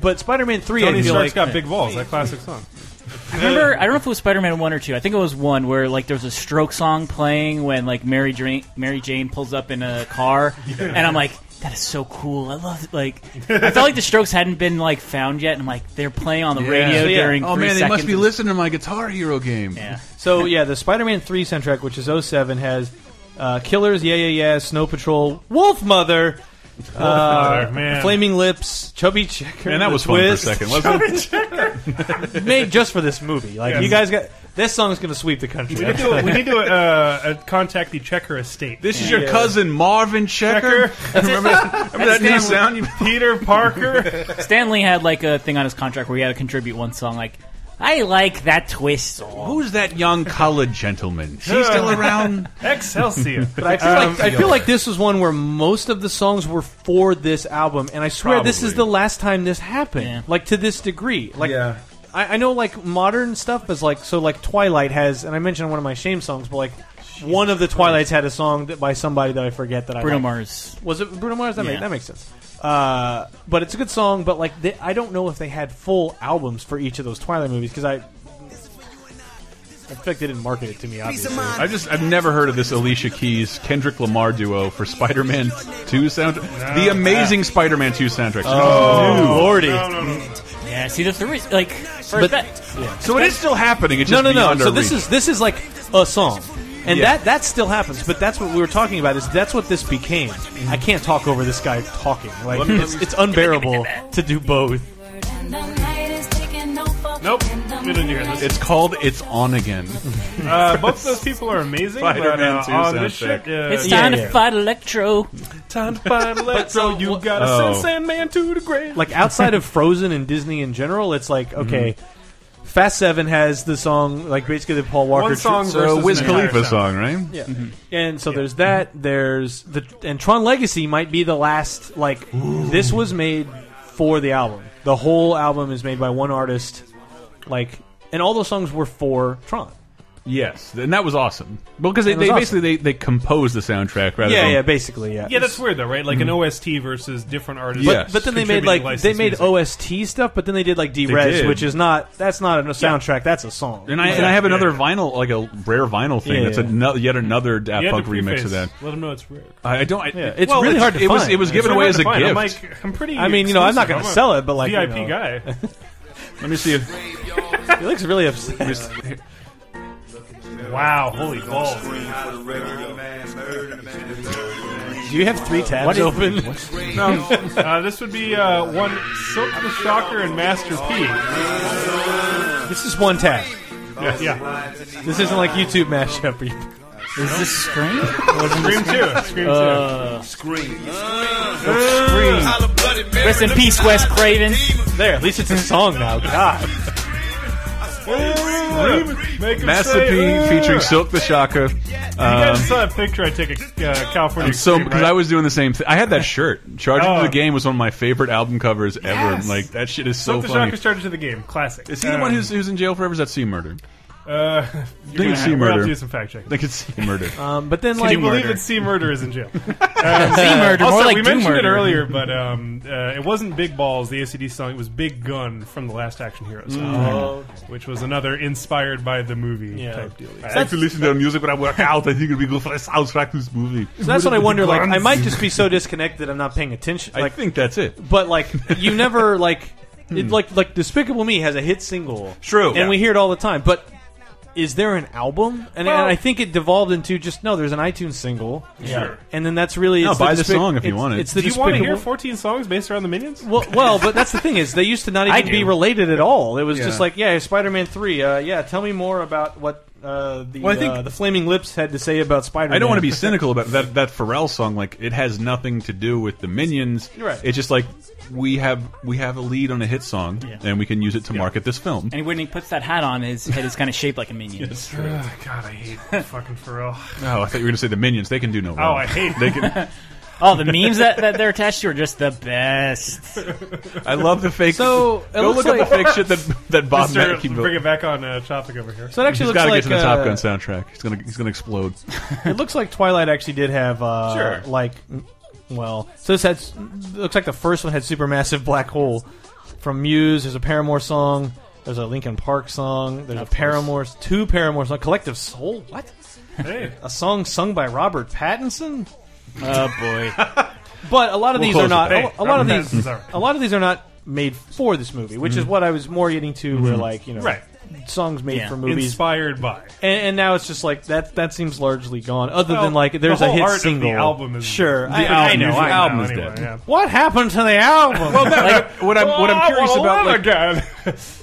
Speaker 5: but Spider Man 3, I
Speaker 3: Tony
Speaker 5: feel
Speaker 3: Stark's
Speaker 5: like.
Speaker 3: got big balls. That classic song.
Speaker 4: Remember, I don't know if it was Spider-Man one or two. I think it was one where like there was a stroke song playing when like Mary Jane, Mary Jane pulls up in a car, and I'm like, that is so cool. I love it. Like, I felt like the Strokes hadn't been like found yet, and I'm like, they're playing on the radio
Speaker 5: So, yeah.
Speaker 4: during.
Speaker 2: film. Oh
Speaker 4: three
Speaker 2: man, they
Speaker 4: seconds.
Speaker 2: must be listening to my Guitar Hero game.
Speaker 4: Yeah.
Speaker 5: So yeah, the Spider-Man Three soundtrack, which is 07, has uh, Killers, Yeah Yeah Yeah, Snow Patrol, Wolf Mother, uh,
Speaker 3: Mother, man.
Speaker 5: Flaming Lips, Chubby Checker,
Speaker 2: Man, that
Speaker 5: The
Speaker 2: was fun for a
Speaker 5: Twist,
Speaker 2: second, wasn't it?
Speaker 5: made just for this movie. Like
Speaker 3: Yes.
Speaker 5: you guys got this song's gonna sweep the country.
Speaker 3: We need to, we need to uh, uh, contact the Checker Estate.
Speaker 2: This is your
Speaker 5: Yeah.
Speaker 2: cousin Marvin Checker. remember remember that new sound? You,
Speaker 3: Peter Parker.
Speaker 4: Stanley had like a thing on his contract where he had to contribute one song. Like, I like that twist song.
Speaker 2: who's that young college gentleman? She's still around.
Speaker 3: Excelsior. Uh,
Speaker 5: I feel, like, I feel like this was one where most of the songs were for this album, and I swear this is the
Speaker 2: Probably.
Speaker 5: last time this happened.
Speaker 4: Yeah.
Speaker 5: Like to this degree. Like
Speaker 3: Yeah.
Speaker 5: I, I know like modern stuff is like so like Twilight has, and I mentioned one of my shame songs, but like one of the Twilights had a song that, by somebody that I forget that I
Speaker 4: Bruno
Speaker 5: like.
Speaker 4: Mars.
Speaker 5: Was it Bruno Mars? That,
Speaker 4: Yeah.
Speaker 5: make, that makes sense. Uh, but it's a good song. But like, they, I don't know if they had full albums for each of those Twilight movies because I, I expect they didn't market it to me. Obviously,
Speaker 2: I just I've never heard of this Alicia Keys Kendrick Lamar duo for Spider-Man 2 sound the amazing Spider-Man 2 soundtrack.
Speaker 5: oh lordy!
Speaker 4: Yeah, see the three like for
Speaker 5: But-
Speaker 4: that-
Speaker 2: So it is still happening. It's just
Speaker 5: No, no, no.
Speaker 2: beyond
Speaker 5: So
Speaker 2: our
Speaker 5: this
Speaker 2: reach.
Speaker 5: is this is like a song, and
Speaker 2: Yeah.
Speaker 5: that that still happens. But that's what we were talking about. Is that's what this became?
Speaker 3: Mm-hmm.
Speaker 5: I can't talk over this guy talking. Like it's, it's unbearable to do both.
Speaker 3: Nope. We didn't hear this.
Speaker 2: it's called It's On Again.
Speaker 3: Uh, both of those people are amazing. but,
Speaker 2: Spider-Man
Speaker 3: uh,
Speaker 2: 2
Speaker 3: on this
Speaker 2: soundtrack.
Speaker 3: shit, uh,
Speaker 4: it's
Speaker 5: Yeah,
Speaker 4: time
Speaker 5: yeah.
Speaker 4: to fight Electro.
Speaker 3: time to find Electro. You gotta
Speaker 2: Oh.
Speaker 3: send Sandman to the grave.
Speaker 5: like outside of Frozen and Disney in general, it's like okay,
Speaker 3: Mm-hmm.
Speaker 5: Fast Seven has the song like basically the Paul Walker
Speaker 3: One song
Speaker 5: tr-
Speaker 2: So
Speaker 3: versus
Speaker 2: Wiz
Speaker 3: an entire
Speaker 2: Khalifa
Speaker 3: sound.
Speaker 2: song, right?
Speaker 5: yeah. and so there's that. There's the and Tron Legacy might be the last like this was made for the album. The whole album is made by one artist, like and all those songs were for Tron.
Speaker 2: Yes, and that was awesome. Because they,
Speaker 5: It was
Speaker 2: they
Speaker 5: awesome.
Speaker 2: basically they, they composed the soundtrack rather
Speaker 5: Yeah,
Speaker 2: than
Speaker 5: yeah, basically, yeah.
Speaker 3: Yeah, that's weird though, right? Like
Speaker 2: Mm-hmm.
Speaker 3: an OST versus different artists.
Speaker 2: But-
Speaker 5: but then they made
Speaker 3: contributing
Speaker 5: like they
Speaker 3: licensed
Speaker 5: made
Speaker 3: music.
Speaker 5: OST stuff, but then they did like D-Res,
Speaker 2: did.
Speaker 5: which is not that's not a soundtrack, that's a song.
Speaker 2: And I, and I have another vinyl, like a rare vinyl thing.
Speaker 5: Yeah,
Speaker 2: that's
Speaker 5: yeah.
Speaker 2: Another, yet another Daft
Speaker 3: You had
Speaker 2: Punk
Speaker 3: to
Speaker 2: remix
Speaker 3: preface.
Speaker 2: of that.
Speaker 3: Let them know it's rare.
Speaker 2: I I don't. I,
Speaker 5: it's
Speaker 2: well,
Speaker 5: really hard to
Speaker 2: it was,
Speaker 5: find.
Speaker 2: It was
Speaker 5: It's
Speaker 2: given
Speaker 3: It's
Speaker 2: away as
Speaker 3: hard to
Speaker 2: a
Speaker 3: find.
Speaker 2: gift.
Speaker 3: I'm like, I'm pretty.
Speaker 5: I mean, you know, I'm
Speaker 3: exclusive.
Speaker 5: not gonna
Speaker 3: I'm a
Speaker 5: sell it, but, like, you
Speaker 3: VIP
Speaker 5: know.
Speaker 3: guy.
Speaker 2: Let me see if
Speaker 5: He looks really upset.
Speaker 3: Wow, holy balls!
Speaker 5: Do you have three tabs open?
Speaker 3: Uh, this would be uh, one Silk the Shocker and Master P.
Speaker 5: This is one tab.
Speaker 3: Yeah, yeah.
Speaker 5: This isn't like YouTube mashup. where you-
Speaker 4: Is this Scream?
Speaker 3: Scream two. Scream two.
Speaker 2: Uh,
Speaker 4: Rest in peace, Wes Craven.
Speaker 5: There, at least it's a song now. God.
Speaker 3: Make 'em
Speaker 2: Master
Speaker 3: say,
Speaker 2: P
Speaker 3: "Ugh."
Speaker 2: featuring Silk the Shocker.
Speaker 3: You
Speaker 2: Um,
Speaker 3: guys saw that picture I took at uh, California.
Speaker 2: I'm so
Speaker 3: Extreme,
Speaker 2: because
Speaker 3: right?
Speaker 2: I was doing the same thing. I had that shirt. Charging
Speaker 3: Oh.
Speaker 2: to the game was one of my favorite album covers ever.
Speaker 3: Yes.
Speaker 2: Like that shit is so
Speaker 3: Let the
Speaker 2: funny.
Speaker 3: Shocker started to the game. Classic. Um,
Speaker 2: Is he the one who's, who's in jail forever? Is that C murder?
Speaker 3: Uh,
Speaker 2: I think it's C
Speaker 3: we're gonna have to
Speaker 2: murder.
Speaker 3: do some fact checking.
Speaker 2: I think it's C murder.
Speaker 5: Um, but then
Speaker 3: I
Speaker 5: like
Speaker 3: believe that C Murder is in jail. Uh,
Speaker 4: Z murder,
Speaker 3: also,
Speaker 4: more like
Speaker 3: we
Speaker 4: do
Speaker 3: mentioned it
Speaker 4: murder.
Speaker 3: earlier, but um, uh, it wasn't Big Balls, the ACD song. It was Big Gun from the Last Action Hero song, which was another inspired by the movie
Speaker 5: Yeah.
Speaker 3: type deal.
Speaker 2: I have to listen to the music when I work out. I think it'd be good for a soundtrack to this movie.
Speaker 5: So that's what I wonder. Like, I might just be so disconnected that I'm not paying attention.
Speaker 2: I
Speaker 5: Like,
Speaker 2: think that's it.
Speaker 5: but like, you never like, it, like, like Despicable Me has a hit single,
Speaker 2: True.
Speaker 5: and
Speaker 2: Yeah.
Speaker 5: we hear it all the time. But is there an album? And,
Speaker 3: Well-
Speaker 5: and I think it devolved into just no. There's an iTunes single,
Speaker 3: Sure.
Speaker 5: and then that's really
Speaker 2: No,
Speaker 5: it's
Speaker 2: buy
Speaker 5: the,
Speaker 2: the
Speaker 5: Despic-
Speaker 2: song if you
Speaker 5: it's-
Speaker 2: want it.
Speaker 5: It's the
Speaker 3: Do you want to hear
Speaker 5: Despicable.
Speaker 3: 14 songs based around the Minions?
Speaker 5: well, well, but that's the thing is they used to not even be related at all. It was
Speaker 2: Yeah.
Speaker 5: just like, yeah, Spider-Man three. Uh, yeah, tell me more about what uh, the
Speaker 2: Well, I think-
Speaker 5: uh, the Flaming Lips had to say about Spider-Man.
Speaker 2: I don't want to be cynical about that that Pharrell song. Like it has nothing to do with the Minions.
Speaker 5: You're right.
Speaker 2: It's just like we have we have a lead on a hit song, and we can use it to market this film.
Speaker 4: And when he puts that hat on, his head is kind of shaped like a minion.
Speaker 3: Ugh, God, I hate fucking Pharrell.
Speaker 2: Oh, I thought you were going to say the Minions. They can do no
Speaker 3: Oh,
Speaker 2: wrong.
Speaker 3: I hate
Speaker 2: They can.
Speaker 4: Oh, the memes that, that they're attached to are just the best.
Speaker 2: I love the fake.
Speaker 5: So, it
Speaker 2: go
Speaker 5: looks
Speaker 2: look up the
Speaker 5: like-
Speaker 2: fake shit that that Bob
Speaker 3: Mr.
Speaker 2: Mackey built.
Speaker 3: Bring it back on uh, topic over here.
Speaker 5: So it actually
Speaker 2: He's
Speaker 5: looks
Speaker 2: got to
Speaker 5: like
Speaker 2: get to the Top
Speaker 5: uh,
Speaker 2: Gun soundtrack. He's gonna he's gonna explode.
Speaker 5: It looks like Twilight actually did have uh,
Speaker 2: Sure.
Speaker 5: like mm, well, so this had looks like the first one had supermassive black hole from Muse. There's a Paramore song. There's a Linkin Park song. There's a Paramore two Paramore songs. Collective Soul. What?
Speaker 3: hey,
Speaker 5: A song sung by Robert Pattinson.
Speaker 4: Oh boy.
Speaker 5: But a lot of these
Speaker 2: close
Speaker 5: are not.
Speaker 3: with
Speaker 5: A,
Speaker 3: that.
Speaker 5: a lot of
Speaker 3: Robert Pattinson's
Speaker 5: these.
Speaker 3: all right.
Speaker 5: A lot of these are not made for this movie, which is what I was more getting to. Where like you know,
Speaker 3: Right.
Speaker 5: songs made
Speaker 4: Yeah.
Speaker 5: for movies.
Speaker 3: inspired by.
Speaker 5: And, and now it's just like that. That seems largely gone. Other than
Speaker 3: Well,
Speaker 5: like there's
Speaker 3: the
Speaker 5: a
Speaker 3: whole
Speaker 5: hit
Speaker 3: art of the
Speaker 5: single.
Speaker 3: album is-
Speaker 5: sure. I,
Speaker 2: album
Speaker 5: I know.
Speaker 2: is-
Speaker 5: I know.
Speaker 2: album is dead.
Speaker 3: Yeah.
Speaker 5: What happened to the album? well,
Speaker 2: what I'm what I'm curious about, like,
Speaker 3: again.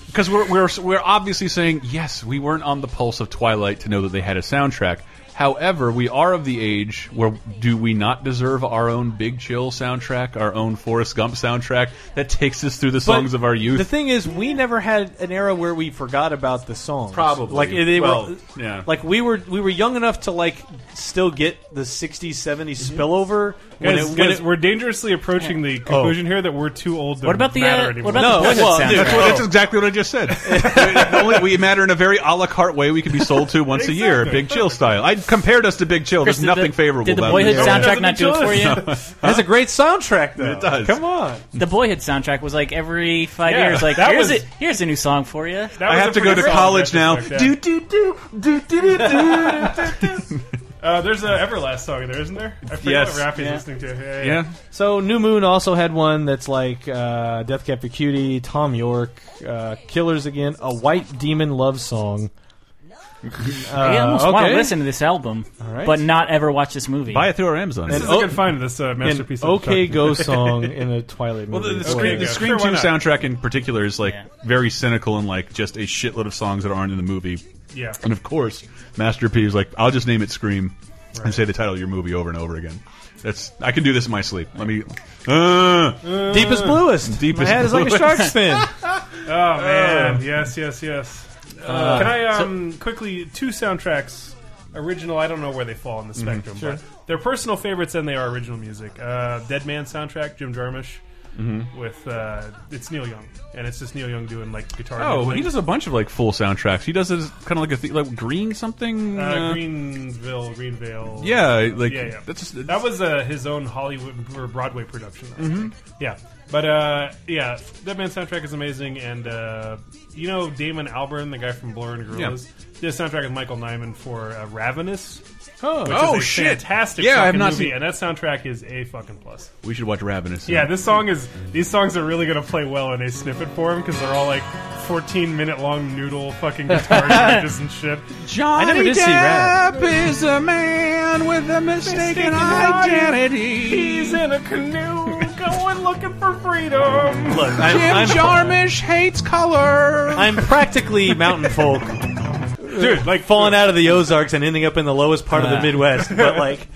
Speaker 2: because we're, we're we're obviously saying yes, we weren't on the pulse of Twilight to know that they had a soundtrack. However, we are of the age where do we not deserve our own Big Chill soundtrack, our own Forrest Gump soundtrack that takes us through the songs of our youth?
Speaker 5: The thing is, we never had an era where we forgot about the songs.
Speaker 2: Probably.
Speaker 5: like they
Speaker 2: Well,
Speaker 5: were,
Speaker 2: yeah.
Speaker 5: like we were, we were young enough to like still get the '60s, '70s
Speaker 2: Mm-hmm.
Speaker 5: spillover. when
Speaker 3: Guys,
Speaker 5: it- when
Speaker 3: guys,
Speaker 5: it-
Speaker 3: we're dangerously approaching
Speaker 2: Oh.
Speaker 3: the conclusion here that we're too old to
Speaker 4: What about the
Speaker 3: matter
Speaker 4: uh,
Speaker 3: anymore.
Speaker 4: what about
Speaker 5: No,
Speaker 4: the present
Speaker 5: well,
Speaker 4: soundtrack?
Speaker 5: dude,
Speaker 2: that's, what- that's exactly what I just said. we, only, we matter in a very a la carte way we can be sold to once a year,
Speaker 3: Exactly.
Speaker 2: Big Chill style. I compared us to Big Chill.
Speaker 4: Chris,
Speaker 2: There's nothing
Speaker 4: did the,
Speaker 2: favorable.
Speaker 4: Did the
Speaker 2: about
Speaker 4: Boyhood
Speaker 2: it.
Speaker 4: soundtrack
Speaker 3: doesn't
Speaker 4: not do it
Speaker 3: enjoy
Speaker 4: for
Speaker 3: it.
Speaker 4: you?
Speaker 5: that's a great soundtrack, though.
Speaker 2: It does.
Speaker 5: Come on.
Speaker 4: the Boyhood soundtrack was like every five
Speaker 3: Yeah,
Speaker 4: years, like
Speaker 3: that
Speaker 4: here's
Speaker 3: was-
Speaker 4: a here's a new song for you.
Speaker 3: That
Speaker 2: I
Speaker 3: was
Speaker 2: have
Speaker 3: a
Speaker 2: to go to
Speaker 3: pretty solid
Speaker 2: college now.
Speaker 3: retrospect, yeah.
Speaker 2: Do do do do do do do.
Speaker 3: Uh, there's an Everlast song there, isn't there? I forget
Speaker 2: Yes.
Speaker 3: what rap he's listening to. Yeah, yeah.
Speaker 2: Yeah.
Speaker 5: So New Moon also had one that's like uh, Death Cab for Cutie, Tom York, uh, Killers again, a White Demon love song.
Speaker 4: I almost want
Speaker 5: okay.
Speaker 4: to listen to this album,
Speaker 5: right.
Speaker 4: but not ever watch this movie.
Speaker 2: Buy it through our Amazon.
Speaker 3: This is
Speaker 5: oh-
Speaker 3: a good find, this uh,
Speaker 5: An
Speaker 3: masterpiece. of
Speaker 5: OK
Speaker 3: Chuck.
Speaker 5: Go song in a Twilight movie.
Speaker 2: Well, the, the
Speaker 5: Or
Speaker 2: Scream,
Speaker 5: whatever.
Speaker 2: the Scream
Speaker 3: Sure, why
Speaker 2: 2
Speaker 3: not?
Speaker 2: soundtrack in particular is like
Speaker 4: Yeah.
Speaker 2: very cynical and like just a shitload of songs that aren't in the movie.
Speaker 3: Yeah.
Speaker 2: And of course, Master P is like, I'll just name it Scream and say the title of your movie over and over again. That's I can do this in my sleep. Let me. Uh,
Speaker 5: Deepest Bluest.
Speaker 2: Deepest
Speaker 5: My head is like a
Speaker 2: Bluest.
Speaker 5: shark's fin.
Speaker 3: Oh
Speaker 2: Uh.
Speaker 3: man, yes, yes, yes. Can I um, quickly two soundtracks? Original, I don't know where they fall on the
Speaker 2: Mm-hmm.
Speaker 3: spectrum, but they're personal favorites and they are original music. Uh, Dead Man soundtrack, Jim Jarmusch,
Speaker 2: Mm-hmm.
Speaker 3: with uh, it's Neil Young, and it's just Neil Young doing like guitar.
Speaker 2: oh,
Speaker 3: nibbling.
Speaker 2: he does a bunch of like full soundtracks. He does this kind of like a th like Green something.
Speaker 3: uh,
Speaker 2: uh,
Speaker 3: Greenville, Greenvale.
Speaker 2: Yeah, like
Speaker 3: yeah, yeah.
Speaker 2: that's just,
Speaker 3: that was uh, his own Hollywood or Broadway production. I think.
Speaker 2: Mm-hmm.
Speaker 3: Yeah, but uh, yeah, Dead Man soundtrack is amazing, and uh, you know Damon Albarn, the guy from Blur and Gorillaz, did a soundtrack with Michael Nyman for uh, Ravenous.
Speaker 5: Oh.
Speaker 3: which is
Speaker 2: Oh,
Speaker 3: a
Speaker 2: shit.
Speaker 3: Fantastic,
Speaker 2: Yeah, I have
Speaker 3: fucking
Speaker 2: not
Speaker 3: movie,
Speaker 2: seen-
Speaker 3: and that soundtrack is a fucking plus.
Speaker 2: we should watch Ravenous.
Speaker 3: Yeah, this song is. These songs are really gonna play well in a snippet form because they're all like 14 minute long noodle fucking guitar bridges and shit.
Speaker 2: Johnny
Speaker 5: I never did see Rab.
Speaker 2: is a man with a mistaken identity.
Speaker 3: He's in a canoe going looking for freedom.
Speaker 5: Look, I'm, I'm,
Speaker 2: Jarmusch hates color.
Speaker 5: I'm practically mountain folk,
Speaker 3: Dude, like
Speaker 5: falling out of the Ozarks and ending up in the lowest part of the Midwest. But like,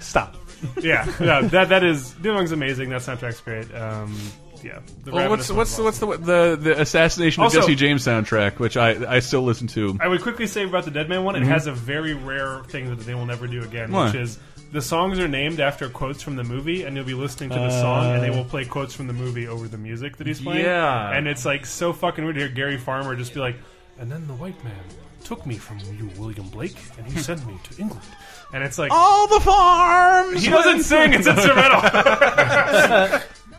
Speaker 5: stop.
Speaker 3: Yeah, no, that that is Neil Young's amazing. That soundtrack's great. Um, yeah. The
Speaker 2: Well, what's
Speaker 3: Ravenous
Speaker 2: what's
Speaker 3: one.
Speaker 2: what's the the, the assassination
Speaker 3: Also-
Speaker 2: of Jesse James soundtrack, which I I still listen to.
Speaker 3: I would quickly say about the Dead Man one, it has a very rare thing that they will never do again,
Speaker 2: Why?
Speaker 3: which is the songs are named after quotes from the movie, and you'll be listening to the song, and they will play quotes from the movie over the music that he's playing.
Speaker 2: Yeah.
Speaker 3: and it's like so fucking weird to hear Gary Farmer just be like, "And then the white man took me from you, William Blake, and he sent me to England." And it's like
Speaker 2: All the farms.
Speaker 3: he doesn't sing; it's instrumental.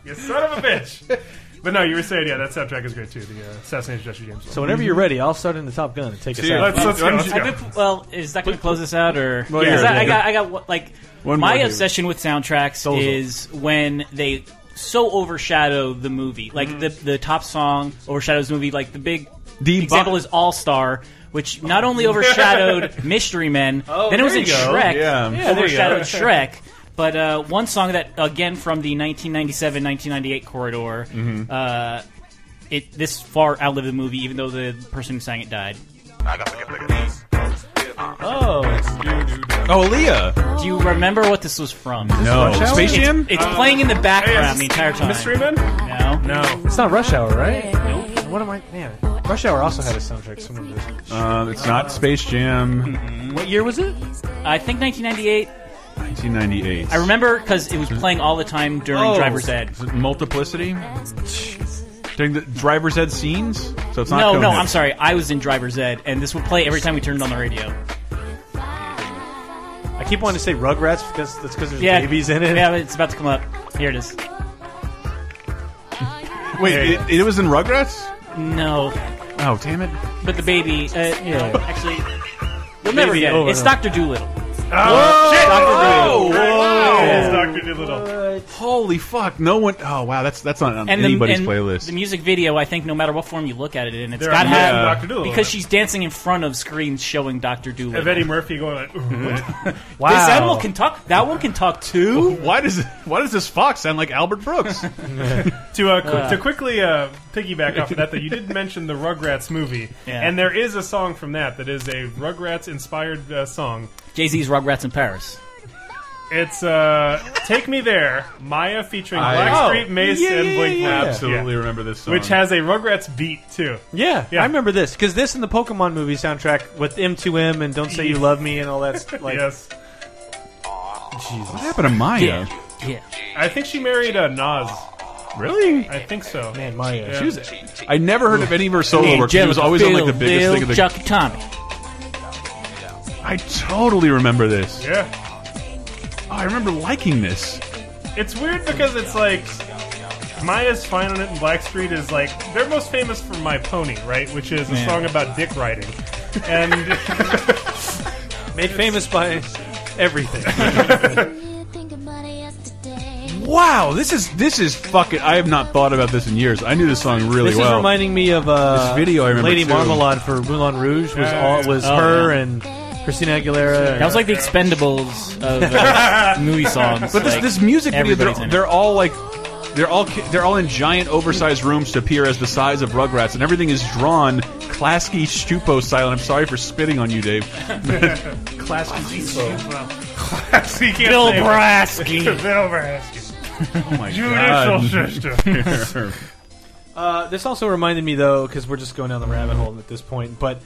Speaker 3: you son of a bitch. But no, you were saying, yeah, that soundtrack is great too. The uh, Assassination of Jesse James. one.
Speaker 5: So whenever you're ready, I'll start in the Top Gun and take us
Speaker 2: Dude,
Speaker 5: out.
Speaker 3: let's, let's go. Let's
Speaker 4: I
Speaker 3: go.
Speaker 4: could- well, is that going to close this out or?
Speaker 2: Well,
Speaker 4: Is
Speaker 2: yeah,
Speaker 4: that-
Speaker 2: yeah,
Speaker 4: I got,
Speaker 2: yeah.
Speaker 4: I got what- like
Speaker 2: One
Speaker 4: my
Speaker 2: more, David.
Speaker 4: obsession with soundtracks is when they so overshadow the movie. Like the the top song overshadows the movie. Like the big
Speaker 2: The bo-
Speaker 4: example is All Star, which not only overshadowed Mystery Men, then it was
Speaker 5: there
Speaker 4: in
Speaker 5: you go.
Speaker 4: Shrek,
Speaker 2: Yeah. Yeah, there you
Speaker 4: overshadowed Shrek. But uh, one song that again from the 1997-1998 corridor.
Speaker 2: Mm-hmm.
Speaker 4: Uh, it this far outlived the movie, even though the person who sang it died.
Speaker 2: Oh, Aaliyah.
Speaker 4: Do you remember what this was from?
Speaker 2: No, Space
Speaker 4: It's,
Speaker 2: Jam.
Speaker 4: it's playing in the background the entire time.
Speaker 3: Mystery Men?
Speaker 4: No.
Speaker 3: No.
Speaker 5: It's not Rush Hour, right? What am I? Man, Rush Hour also had a soundtrack. Similar to this.
Speaker 2: Uh, it's not Space Jam.
Speaker 5: What year was it?
Speaker 4: I think 1998.
Speaker 2: 1998.
Speaker 4: I remember because it was playing all the time during
Speaker 2: Oh.
Speaker 4: Driver's Ed.
Speaker 2: Is it Multiplicity. During the driver's head scenes, so it's not.
Speaker 4: No, no,
Speaker 2: Coneheads.
Speaker 4: I'm sorry. I was in Driver's Ed, and this would play every time we turned on the radio.
Speaker 5: I keep wanting to say Rugrats because that's because there's
Speaker 4: Yeah,
Speaker 5: babies in it.
Speaker 4: Yeah, but it's about to come up. Here it is.
Speaker 2: Wait, it, it was in Rugrats.
Speaker 4: No,
Speaker 2: Oh, damn it!
Speaker 4: but the baby. Uh, no, actually, you'll never
Speaker 5: Baby
Speaker 4: get it.
Speaker 5: over
Speaker 4: It's
Speaker 5: and over.
Speaker 4: Doctor Doolittle.
Speaker 2: Oh,
Speaker 3: It's Dr. Doolittle.
Speaker 2: Holy fuck! No one. Oh wow, that's that's not on
Speaker 4: And
Speaker 2: anybody's
Speaker 4: the, and
Speaker 2: playlist.
Speaker 4: The music video, I think, no matter what form you look at it in, it's
Speaker 3: There
Speaker 4: got to
Speaker 3: are men
Speaker 4: have
Speaker 3: in Dr. Doolittle.
Speaker 4: because she's dancing in front of screens showing Doctor Doolittle.
Speaker 3: Of Eddie Murphy going like, "Ooh."
Speaker 5: Wow.
Speaker 4: This animal can talk. That one can talk too.
Speaker 2: why does why does this fox sound like Albert Brooks?
Speaker 3: to uh, qu- to quickly uh, piggyback off of that, though, you did mention the Rugrats movie,
Speaker 4: Yeah.
Speaker 3: and there is a song from that that is a Rugrats inspired uh, song.
Speaker 4: Jay Z's Oh. Rugrats in Paris.
Speaker 3: It's uh, "Take Me There," Maya featuring
Speaker 5: Oh.
Speaker 3: Blackstreet Mace and
Speaker 2: I
Speaker 3: Blink One Eighty Two,
Speaker 2: absolutely remember this song.
Speaker 3: which has a Rugrats beat too.
Speaker 5: Yeah,
Speaker 3: Yeah.
Speaker 5: I remember this because this and the Pokemon movie soundtrack with M2M and "Don't Say You Love Me" and all that. st- Like,
Speaker 3: yes,
Speaker 2: what happened to Maya?
Speaker 4: yeah.
Speaker 3: I think she married uh, Nas.
Speaker 2: Really?
Speaker 3: I think so.
Speaker 5: man, Mario.
Speaker 3: Yeah.
Speaker 2: She was- I never heard of any of her solo work. She was always on like the biggest thing of the.
Speaker 4: Chuck Tommy.
Speaker 2: I totally remember this.
Speaker 3: Yeah.
Speaker 2: Oh, I remember liking this.
Speaker 3: It's weird because it's like Maya's fine on it, and Blackstreet is like they're most famous for "My Pony," right? Which is a
Speaker 4: Yeah.
Speaker 3: song about dick riding, and
Speaker 5: made famous by everything.
Speaker 2: Wow, this is this is fucking. I have not thought about this in years. I knew this song really
Speaker 5: this
Speaker 2: well.
Speaker 5: is reminding me of uh,
Speaker 2: This video I remember,
Speaker 5: Lady
Speaker 2: too.
Speaker 5: Marmalade for Moulin Rouge was all was
Speaker 4: Oh,
Speaker 5: her
Speaker 4: yeah.
Speaker 5: and Christina Aguilera. and-
Speaker 4: That was like the Expendables of uh, movie songs.
Speaker 2: but this
Speaker 4: like,
Speaker 2: this music video,
Speaker 4: everybody's
Speaker 2: they're,
Speaker 4: in it.
Speaker 2: they're all like. They're all ki- they're all in giant, oversized rooms to appear as the size of Rugrats, and everything is drawn Klasky Stupo style. And I'm sorry for spitting on you, Dave.
Speaker 3: he can't
Speaker 4: Bill
Speaker 3: say it.
Speaker 4: Brasky.
Speaker 3: Bill Brasky,
Speaker 2: Oh my
Speaker 3: judicial system.
Speaker 2: god!
Speaker 5: Uh, this also reminded me, though, because we're just going down the rabbit hole at this point. But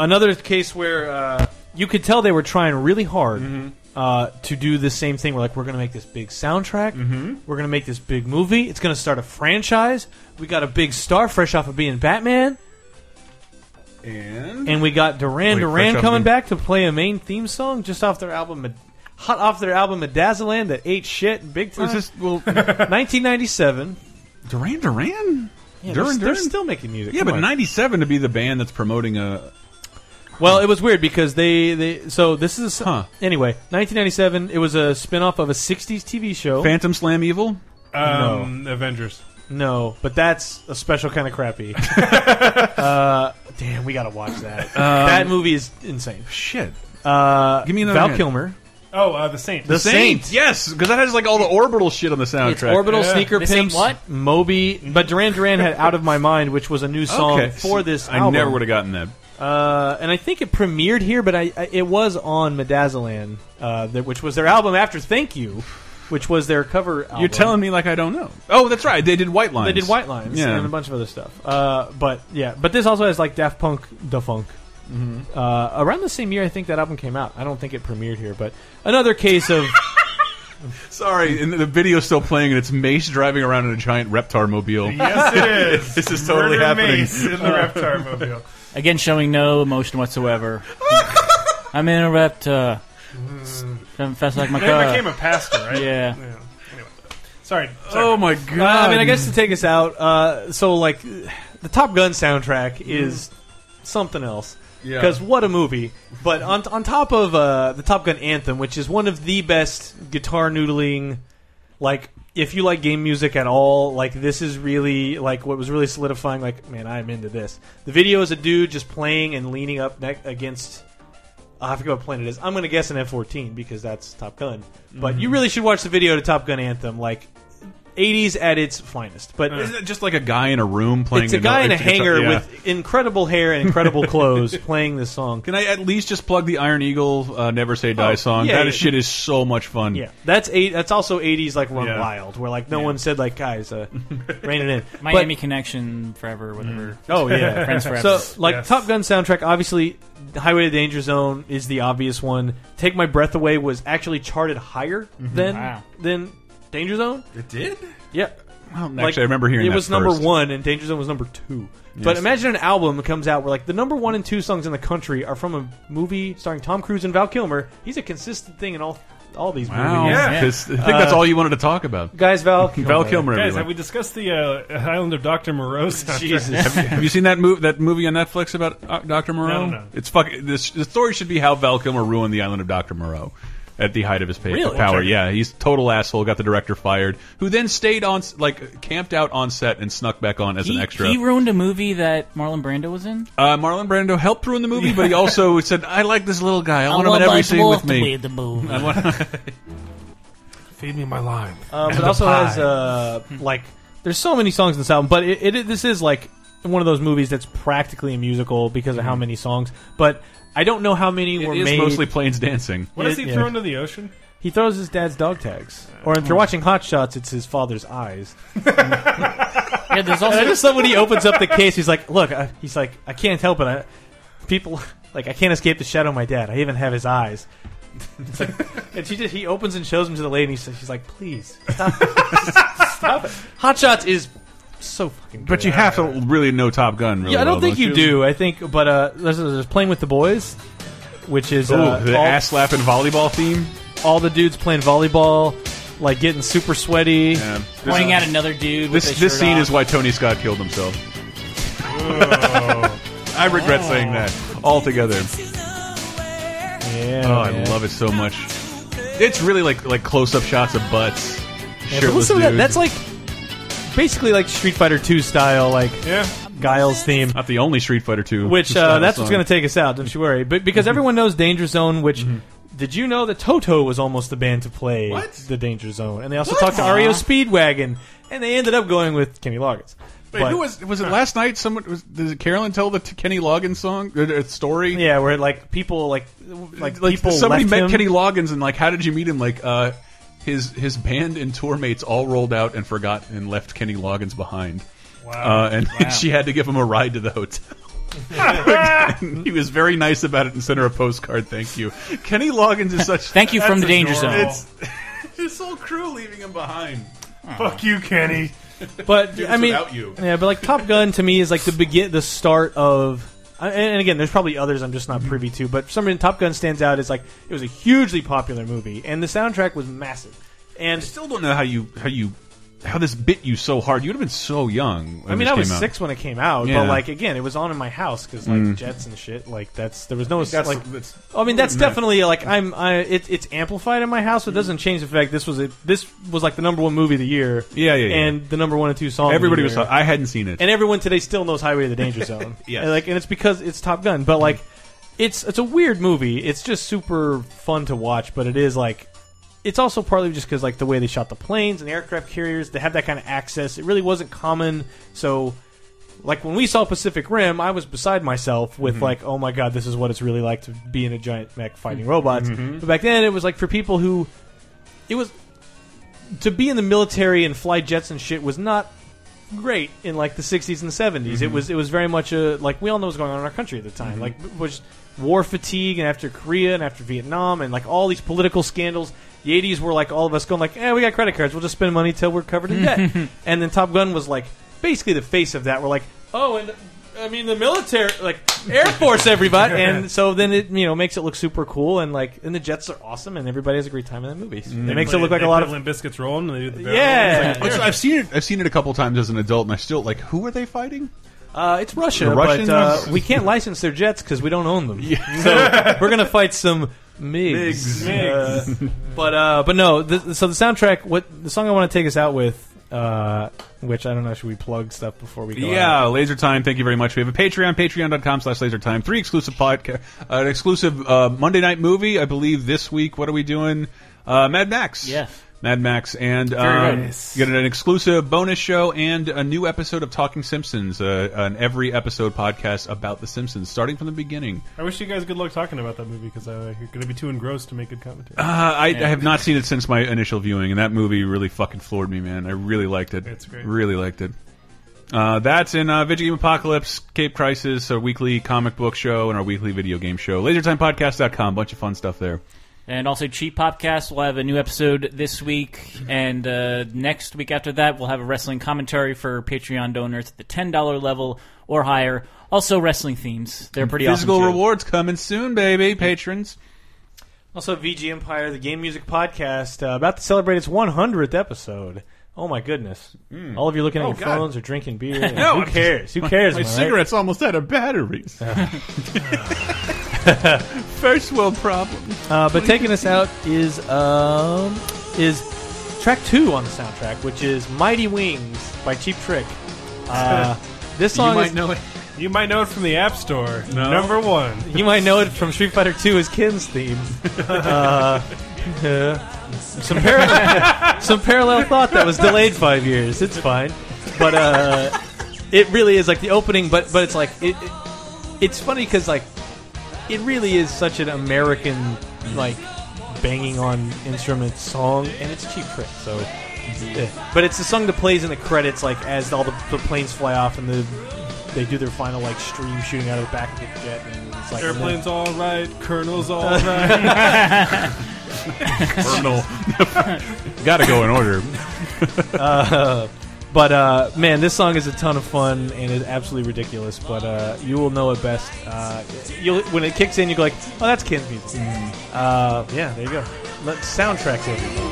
Speaker 5: another case where uh, you could tell they were trying really hard
Speaker 2: Mm-hmm.
Speaker 5: uh, to do the same thing. We're like, we're going to make this big soundtrack.
Speaker 2: Mm-hmm.
Speaker 5: We're going to make this big movie. It's going to start a franchise. We got a big star fresh off of being Batman,
Speaker 2: and
Speaker 5: and we got Duran
Speaker 2: Wait, fresh
Speaker 5: Duran
Speaker 2: off
Speaker 5: coming
Speaker 2: being-
Speaker 5: back to play a main theme song just off their album. Med- Hot off their album Medazoland that ate shit big time.
Speaker 2: was this well
Speaker 5: 1997.
Speaker 2: Duran Duran?
Speaker 5: Yeah,
Speaker 2: Duran
Speaker 5: they're, they're
Speaker 2: Duran?
Speaker 5: still making music.
Speaker 2: Yeah,
Speaker 5: Come
Speaker 2: but
Speaker 5: on.
Speaker 2: '97 to be the band that's promoting uh, a
Speaker 5: Well, it was weird because they, they so this is a,
Speaker 2: Huh.
Speaker 5: anyway 1997. It was a spin-off of a 60s TV show.
Speaker 2: Phantom Slam Evil.
Speaker 3: Um, Avengers.
Speaker 5: no, but that's a special kind of crappy. uh, damn, we gotta watch that. that movie is insane.
Speaker 2: Shit.
Speaker 5: Uh,
Speaker 2: Um, Give me another
Speaker 5: Val
Speaker 2: hint.
Speaker 5: Kilmer,
Speaker 3: Oh, uh, the Saint.
Speaker 5: The Saint.
Speaker 2: Yes, because that has like all the orbital shit on the soundtrack.
Speaker 5: It's Orbital
Speaker 3: Yeah.
Speaker 5: Sneaker
Speaker 4: This ain't
Speaker 5: Pimps.
Speaker 4: what?
Speaker 5: Moby, but Duran Duran had "Out of My Mind," which was a new song
Speaker 2: Okay.
Speaker 5: for this.
Speaker 2: I
Speaker 5: album.
Speaker 2: never would have gotten that.
Speaker 5: Uh, and I think it premiered here, but I, I it was on Medazoland, uh, that, which was their album after Thank You, which was their cover. Album.
Speaker 2: You're telling me like I don't know. Oh, that's right. They did White Lines.
Speaker 5: they did White Lines
Speaker 2: Yeah.
Speaker 5: and a bunch of other stuff. Uh, but yeah, but this also has like Daft Punk, Defunk.
Speaker 2: Mm-hmm.
Speaker 5: Uh, around the same year, I think that album came out. I don't think it premiered here, but another case of
Speaker 2: Sorry, and the video's still playing, and it's Mace driving around in a giant reptar mobile.
Speaker 3: Yes, it is.
Speaker 2: This is totally
Speaker 3: Murder
Speaker 2: happening.
Speaker 3: Mace in the Reptar
Speaker 5: Uh,
Speaker 3: mobile.
Speaker 4: Again, showing no emotion whatsoever. I'm in a reptar. Doesn't fast like my
Speaker 3: They
Speaker 4: car.
Speaker 3: became a pastor, right?
Speaker 4: Yeah.
Speaker 3: Anyway. Sorry. sorry.
Speaker 2: Oh my
Speaker 5: Uh,
Speaker 2: god!
Speaker 5: I mean, I guess to take us out, uh, so like the Top Gun soundtrack is something else.
Speaker 2: Mm-hmm. Yeah.
Speaker 5: Because what a movie! But on on top of uh, the Top Gun anthem, which is one of the best guitar noodling, like if you like game music at all, like this is really like what was really solidifying. Like, man, I'm into this. The video is a dude just playing and leaning up ne- against. I forget what plane it is. I'm going to guess an F-14 because that's Top Gun. But
Speaker 2: Mm-hmm.
Speaker 5: you really should watch the video to Top Gun anthem. Like 80s at its finest. But
Speaker 2: Isn't it just like a guy in a room playing?
Speaker 5: it's a guy in a
Speaker 2: it's- it's
Speaker 5: hanger
Speaker 2: yeah.
Speaker 5: with incredible hair and incredible clothes playing this song.
Speaker 2: Can I at least just plug the Iron Eagle uh, "Never Say Die"
Speaker 5: Oh,
Speaker 2: song?
Speaker 5: yeah,
Speaker 2: that
Speaker 5: yeah.
Speaker 2: shit is so much fun.
Speaker 5: Yeah, that's eight. That's also 80s like Run
Speaker 2: Yeah.
Speaker 5: Wild, where like no one said like guys, uh, rein it in.
Speaker 4: Miami Connection forever, whatever.
Speaker 5: Oh yeah,
Speaker 4: Friends forever.
Speaker 5: So like
Speaker 3: Yes.
Speaker 5: Top Gun soundtrack, obviously Highway to Danger Zone is the obvious one. Take My Breath Away was actually charted higher than
Speaker 4: Wow.
Speaker 5: than Danger Zone.
Speaker 2: Mm-hmm. it did.
Speaker 5: Yeah,
Speaker 2: Well, actually,
Speaker 5: Like,
Speaker 2: I remember hearing
Speaker 5: it
Speaker 2: that
Speaker 5: was number
Speaker 2: first.
Speaker 5: one and Danger Zone was number two. But imagine an album that comes out where like the number one and two songs in the country are from a movie starring Tom Cruise and Val Kilmer. He's a consistent thing in all all these
Speaker 2: Wow,
Speaker 5: movies.
Speaker 3: Yeah.
Speaker 2: 'Cause I think that's all you wanted to talk about.
Speaker 5: Uh, Guys, Val Kilmer.
Speaker 2: Val Kilmer.
Speaker 3: Guys,
Speaker 2: everyone.
Speaker 3: have we discussed the uh, Island of Dr. Moreau soundtrack?
Speaker 5: Jesus.
Speaker 2: Have you seen that move that movie on Netflix about uh, Dr. Moreau?
Speaker 3: No, no, no.
Speaker 2: It's fucking this the story should be how Val Kilmer ruined the island of Dr. Moreau at the height of his pa-
Speaker 5: Really?
Speaker 2: power.
Speaker 5: Okay.
Speaker 2: Yeah, he's total asshole, got the director fired, who then stayed on s- like camped out on set and snuck back on as
Speaker 4: he,
Speaker 2: an extra.
Speaker 4: he ruined a movie that Marlon Brando was in.
Speaker 2: uh, Marlon Brando helped ruin the movie, but he also said, "I like this little guy. I, want him in every scene with me."
Speaker 4: the movie.
Speaker 3: Feed me my lime.
Speaker 5: Um, but it also has uh,
Speaker 2: Hmm.
Speaker 5: like there's so many songs in this album, but it, it this is like one of those movies that's practically a musical because of how many songs. But I don't know how many were
Speaker 2: Hmm. It is
Speaker 5: made.
Speaker 2: mostly planes dancing.
Speaker 3: What does he
Speaker 5: it- yeah.
Speaker 3: throw into the ocean?
Speaker 5: He throws his dad's dog tags, or if you're watching Hot Shots, it's his father's eyes.
Speaker 4: yeah, there's
Speaker 5: And I
Speaker 4: also
Speaker 5: just love when he opens up the case. He's like, "Look," I, he's like, "I can't help it. I, people, like, I can't escape the shadow of my dad. I even have his eyes." It's like, and she just he opens and shows him to the lady. And he's, she's like, "Please stop, stop it." Hot Shots is so fucking. Good.
Speaker 2: But you have to really know Top Gun. Really
Speaker 5: yeah, I don't
Speaker 2: well,
Speaker 5: think you do. I think, but uh, there's, there's playing with the boys, which is
Speaker 2: Ooh,
Speaker 5: uh,
Speaker 2: the
Speaker 5: all,
Speaker 2: ass slap and volleyball theme.
Speaker 5: all the dudes playing volleyball, like getting super sweaty.
Speaker 2: Yeah. This-
Speaker 4: pointing at another dude. With
Speaker 2: This
Speaker 4: a
Speaker 2: this
Speaker 4: shirt
Speaker 2: scene
Speaker 4: off.
Speaker 2: is why Tony Scott killed himself. I regret saying that altogether.
Speaker 5: Yeah,
Speaker 2: Oh, I love it so much. It's really like like close up shots of butts.
Speaker 5: But
Speaker 2: shirtless
Speaker 5: listen to that.
Speaker 2: dudes.
Speaker 5: That's like basically like Street Fighter 2 style, like
Speaker 3: Yeah.
Speaker 5: Guile's theme.
Speaker 2: not the only Street Fighter two.
Speaker 5: Which uh, that's what's going to take us out. Don't you worry. But
Speaker 2: Mm-hmm.
Speaker 5: because everyone knows Danger Zone, which did you know that Toto was almost the band to play
Speaker 2: What?
Speaker 5: the Danger Zone, and they also talked to Ario Speedwagon, and they ended up going with Kenny Loggins.
Speaker 2: Wait, who was was it last night? Someone was did Carolyn tell the t- Kenny Loggins song uh, uh, story?
Speaker 5: Yeah, where like people like like,
Speaker 2: like
Speaker 5: people
Speaker 2: somebody
Speaker 5: left
Speaker 2: met
Speaker 5: him.
Speaker 2: Kenny Loggins and like, how did you meet him? Like, uh, his his band and tour mates all rolled out and forgot and left Kenny Loggins behind.
Speaker 3: Wow.
Speaker 2: Uh, and she had to give him a ride to the hotel. he was very nice about it and sent her a postcard. Thank you, Kenny Loggins is such.
Speaker 4: Thank you from the danger zone.
Speaker 3: adorable.
Speaker 2: It's his whole crew leaving him behind.
Speaker 3: Fuck you, Kenny.
Speaker 5: But
Speaker 2: this
Speaker 5: I mean,
Speaker 2: without you.
Speaker 5: yeah, but like Top Gun to me is like the begin, the start of. I- And and again, there's probably others I'm just not privy to, but for some reason Top Gun stands out as like it was a hugely popular movie, and the soundtrack was massive. And
Speaker 2: Still don't know how you how you how this bit you so hard. You would have been so young. When
Speaker 5: I mean,
Speaker 2: this
Speaker 5: I was
Speaker 2: came out.
Speaker 5: six when it came out,
Speaker 2: Yeah. Mm.
Speaker 5: but like again, it was on in my house because like jets and shit. Like that's there was no
Speaker 2: That's
Speaker 5: like.
Speaker 2: that's-
Speaker 5: I mean, that's
Speaker 2: No.
Speaker 5: definitely like I'm. I it, it's amplified in my house. So it
Speaker 2: Mm.
Speaker 5: doesn't change the fact this was a this was like the number one movie of the year.
Speaker 2: Yeah, yeah, yeah.
Speaker 5: And the number one and two song. of the
Speaker 2: Everybody was.
Speaker 5: year.
Speaker 2: I hadn't seen it.
Speaker 5: and everyone today still knows Highway to the Danger Zone.
Speaker 2: Yes.
Speaker 5: And, like, and it's because it's Top Gun, but like, it's it's a weird movie. It's just super fun to watch, but it is like, it's also partly just because like the way they shot the planes and the aircraft carriers, they have that kind of access. It really wasn't common, so. Like when we saw Pacific Rim, I was beside myself with like, "Oh my god, this is what it's really like to be in a giant mech fighting robots." But back then, it was like for people who, it was to be in the military and fly jets and shit was not great in like the 60s and 70s. It was it was very much a like we all know what's going on in our country at the time. Like it was war fatigue and after Korea and after Vietnam and like all these political scandals. The 80s were like all of us going like, "Eh, we got credit cards. We'll just spend money till we're covered in debt." and then Top Gun was like basically the face of that. We're like, "Oh, and I mean the military like Air Force everybody." and so then it, you know, makes it look super cool and like and the jets are awesome and everybody has a great time in that movie. It makes Mm-hmm. it look like a lot of
Speaker 3: Limp Biscuits rolling. And they do the barrel
Speaker 5: Yeah.
Speaker 3: roll. It's like,
Speaker 2: It's- Oh, I've seen it. I've seen it a couple times as an adult, and I still like. Who are they fighting?
Speaker 5: Uh, it's Russia,
Speaker 2: The Russians-
Speaker 5: but uh, we can't license their jets because we don't own them. So we're gonna fight some MIGs. Uh, but uh, but no. The, so the soundtrack. What the song I want to take us out with? Uh, which I don't know. Should we plug stuff before we go? out?
Speaker 2: Yeah, Laser Time. Thank you very much. We have a Patreon, patreon.com slash Laser Time. Three exclusive podcast, uh, an exclusive uh, Monday night movie. I believe this week. What are we doing? Uh, Mad Max.
Speaker 4: Yeah.
Speaker 2: Mad Max, and
Speaker 4: Very
Speaker 2: um,
Speaker 4: nice.
Speaker 2: you get an exclusive bonus show and a new episode of Talking Simpsons, uh, an every episode podcast about the Simpsons, starting from the beginning.
Speaker 3: I wish you guys good luck talking about that movie because uh, you're going to be too engrossed to make good commentary.
Speaker 2: Uh, I, I have not seen it since my initial viewing, and that movie really fucking floored me, man. I really liked it.
Speaker 3: It's great.
Speaker 2: Really liked it. Uh, that's in uh, Video Game Apocalypse, Cape Crisis, our weekly comic book show, and our weekly video game show. LaserTimePodcast.com. Bunch of fun stuff there.
Speaker 4: And also, Cheap Popcast will have a new episode this week, and uh, next week after that, we'll have a wrestling commentary for Patreon donors at the ten dollar level or higher. Also, wrestling themes; they're pretty
Speaker 2: Physical
Speaker 4: awesome. too.
Speaker 2: rewards coming soon, baby, patrons.
Speaker 5: Also, VG Empire, the game music podcast, uh, about to celebrate its 100th episode. Oh my goodness! All of you looking at your
Speaker 2: Hmm. Oh, God.
Speaker 5: phones or drinking beer. and
Speaker 2: No,
Speaker 5: who
Speaker 2: I'm-
Speaker 5: cares? Who cares?
Speaker 2: My
Speaker 5: am I right?
Speaker 2: cigarette's almost out of batteries. First world problem.
Speaker 5: Uh, but taking us out is um, is track two on the soundtrack, which is "Mighty Wings" by Cheap Trick. Uh, this
Speaker 2: You
Speaker 5: song
Speaker 2: might
Speaker 5: is-
Speaker 2: know it.
Speaker 3: you might know it from the App Store. Number one.
Speaker 5: you might know it from Street Fighter II as Ken's theme. Uh, uh, some parallel some parallel thought that was delayed five years. It's fine, but uh, it really is like the opening. But but it's like it, it it's funny because like it really is such an American like banging on instruments song, and it's cheap trick. So, eh. but it's the song that plays in the credits, like as all the, the planes fly off and the they do their final like stream shooting out of the back of the jet, and it's like
Speaker 3: Airplane's all right. Colonel's all right.
Speaker 2: Colonel. Gotta go in order.
Speaker 5: But uh, man, this song is a ton of fun and it's absolutely ridiculous. But uh, you will know it best. Uh, you'll when it kicks in, you go like, "Oh, that's Ken's music." Uh, yeah, there you go. Let, soundtracks everything.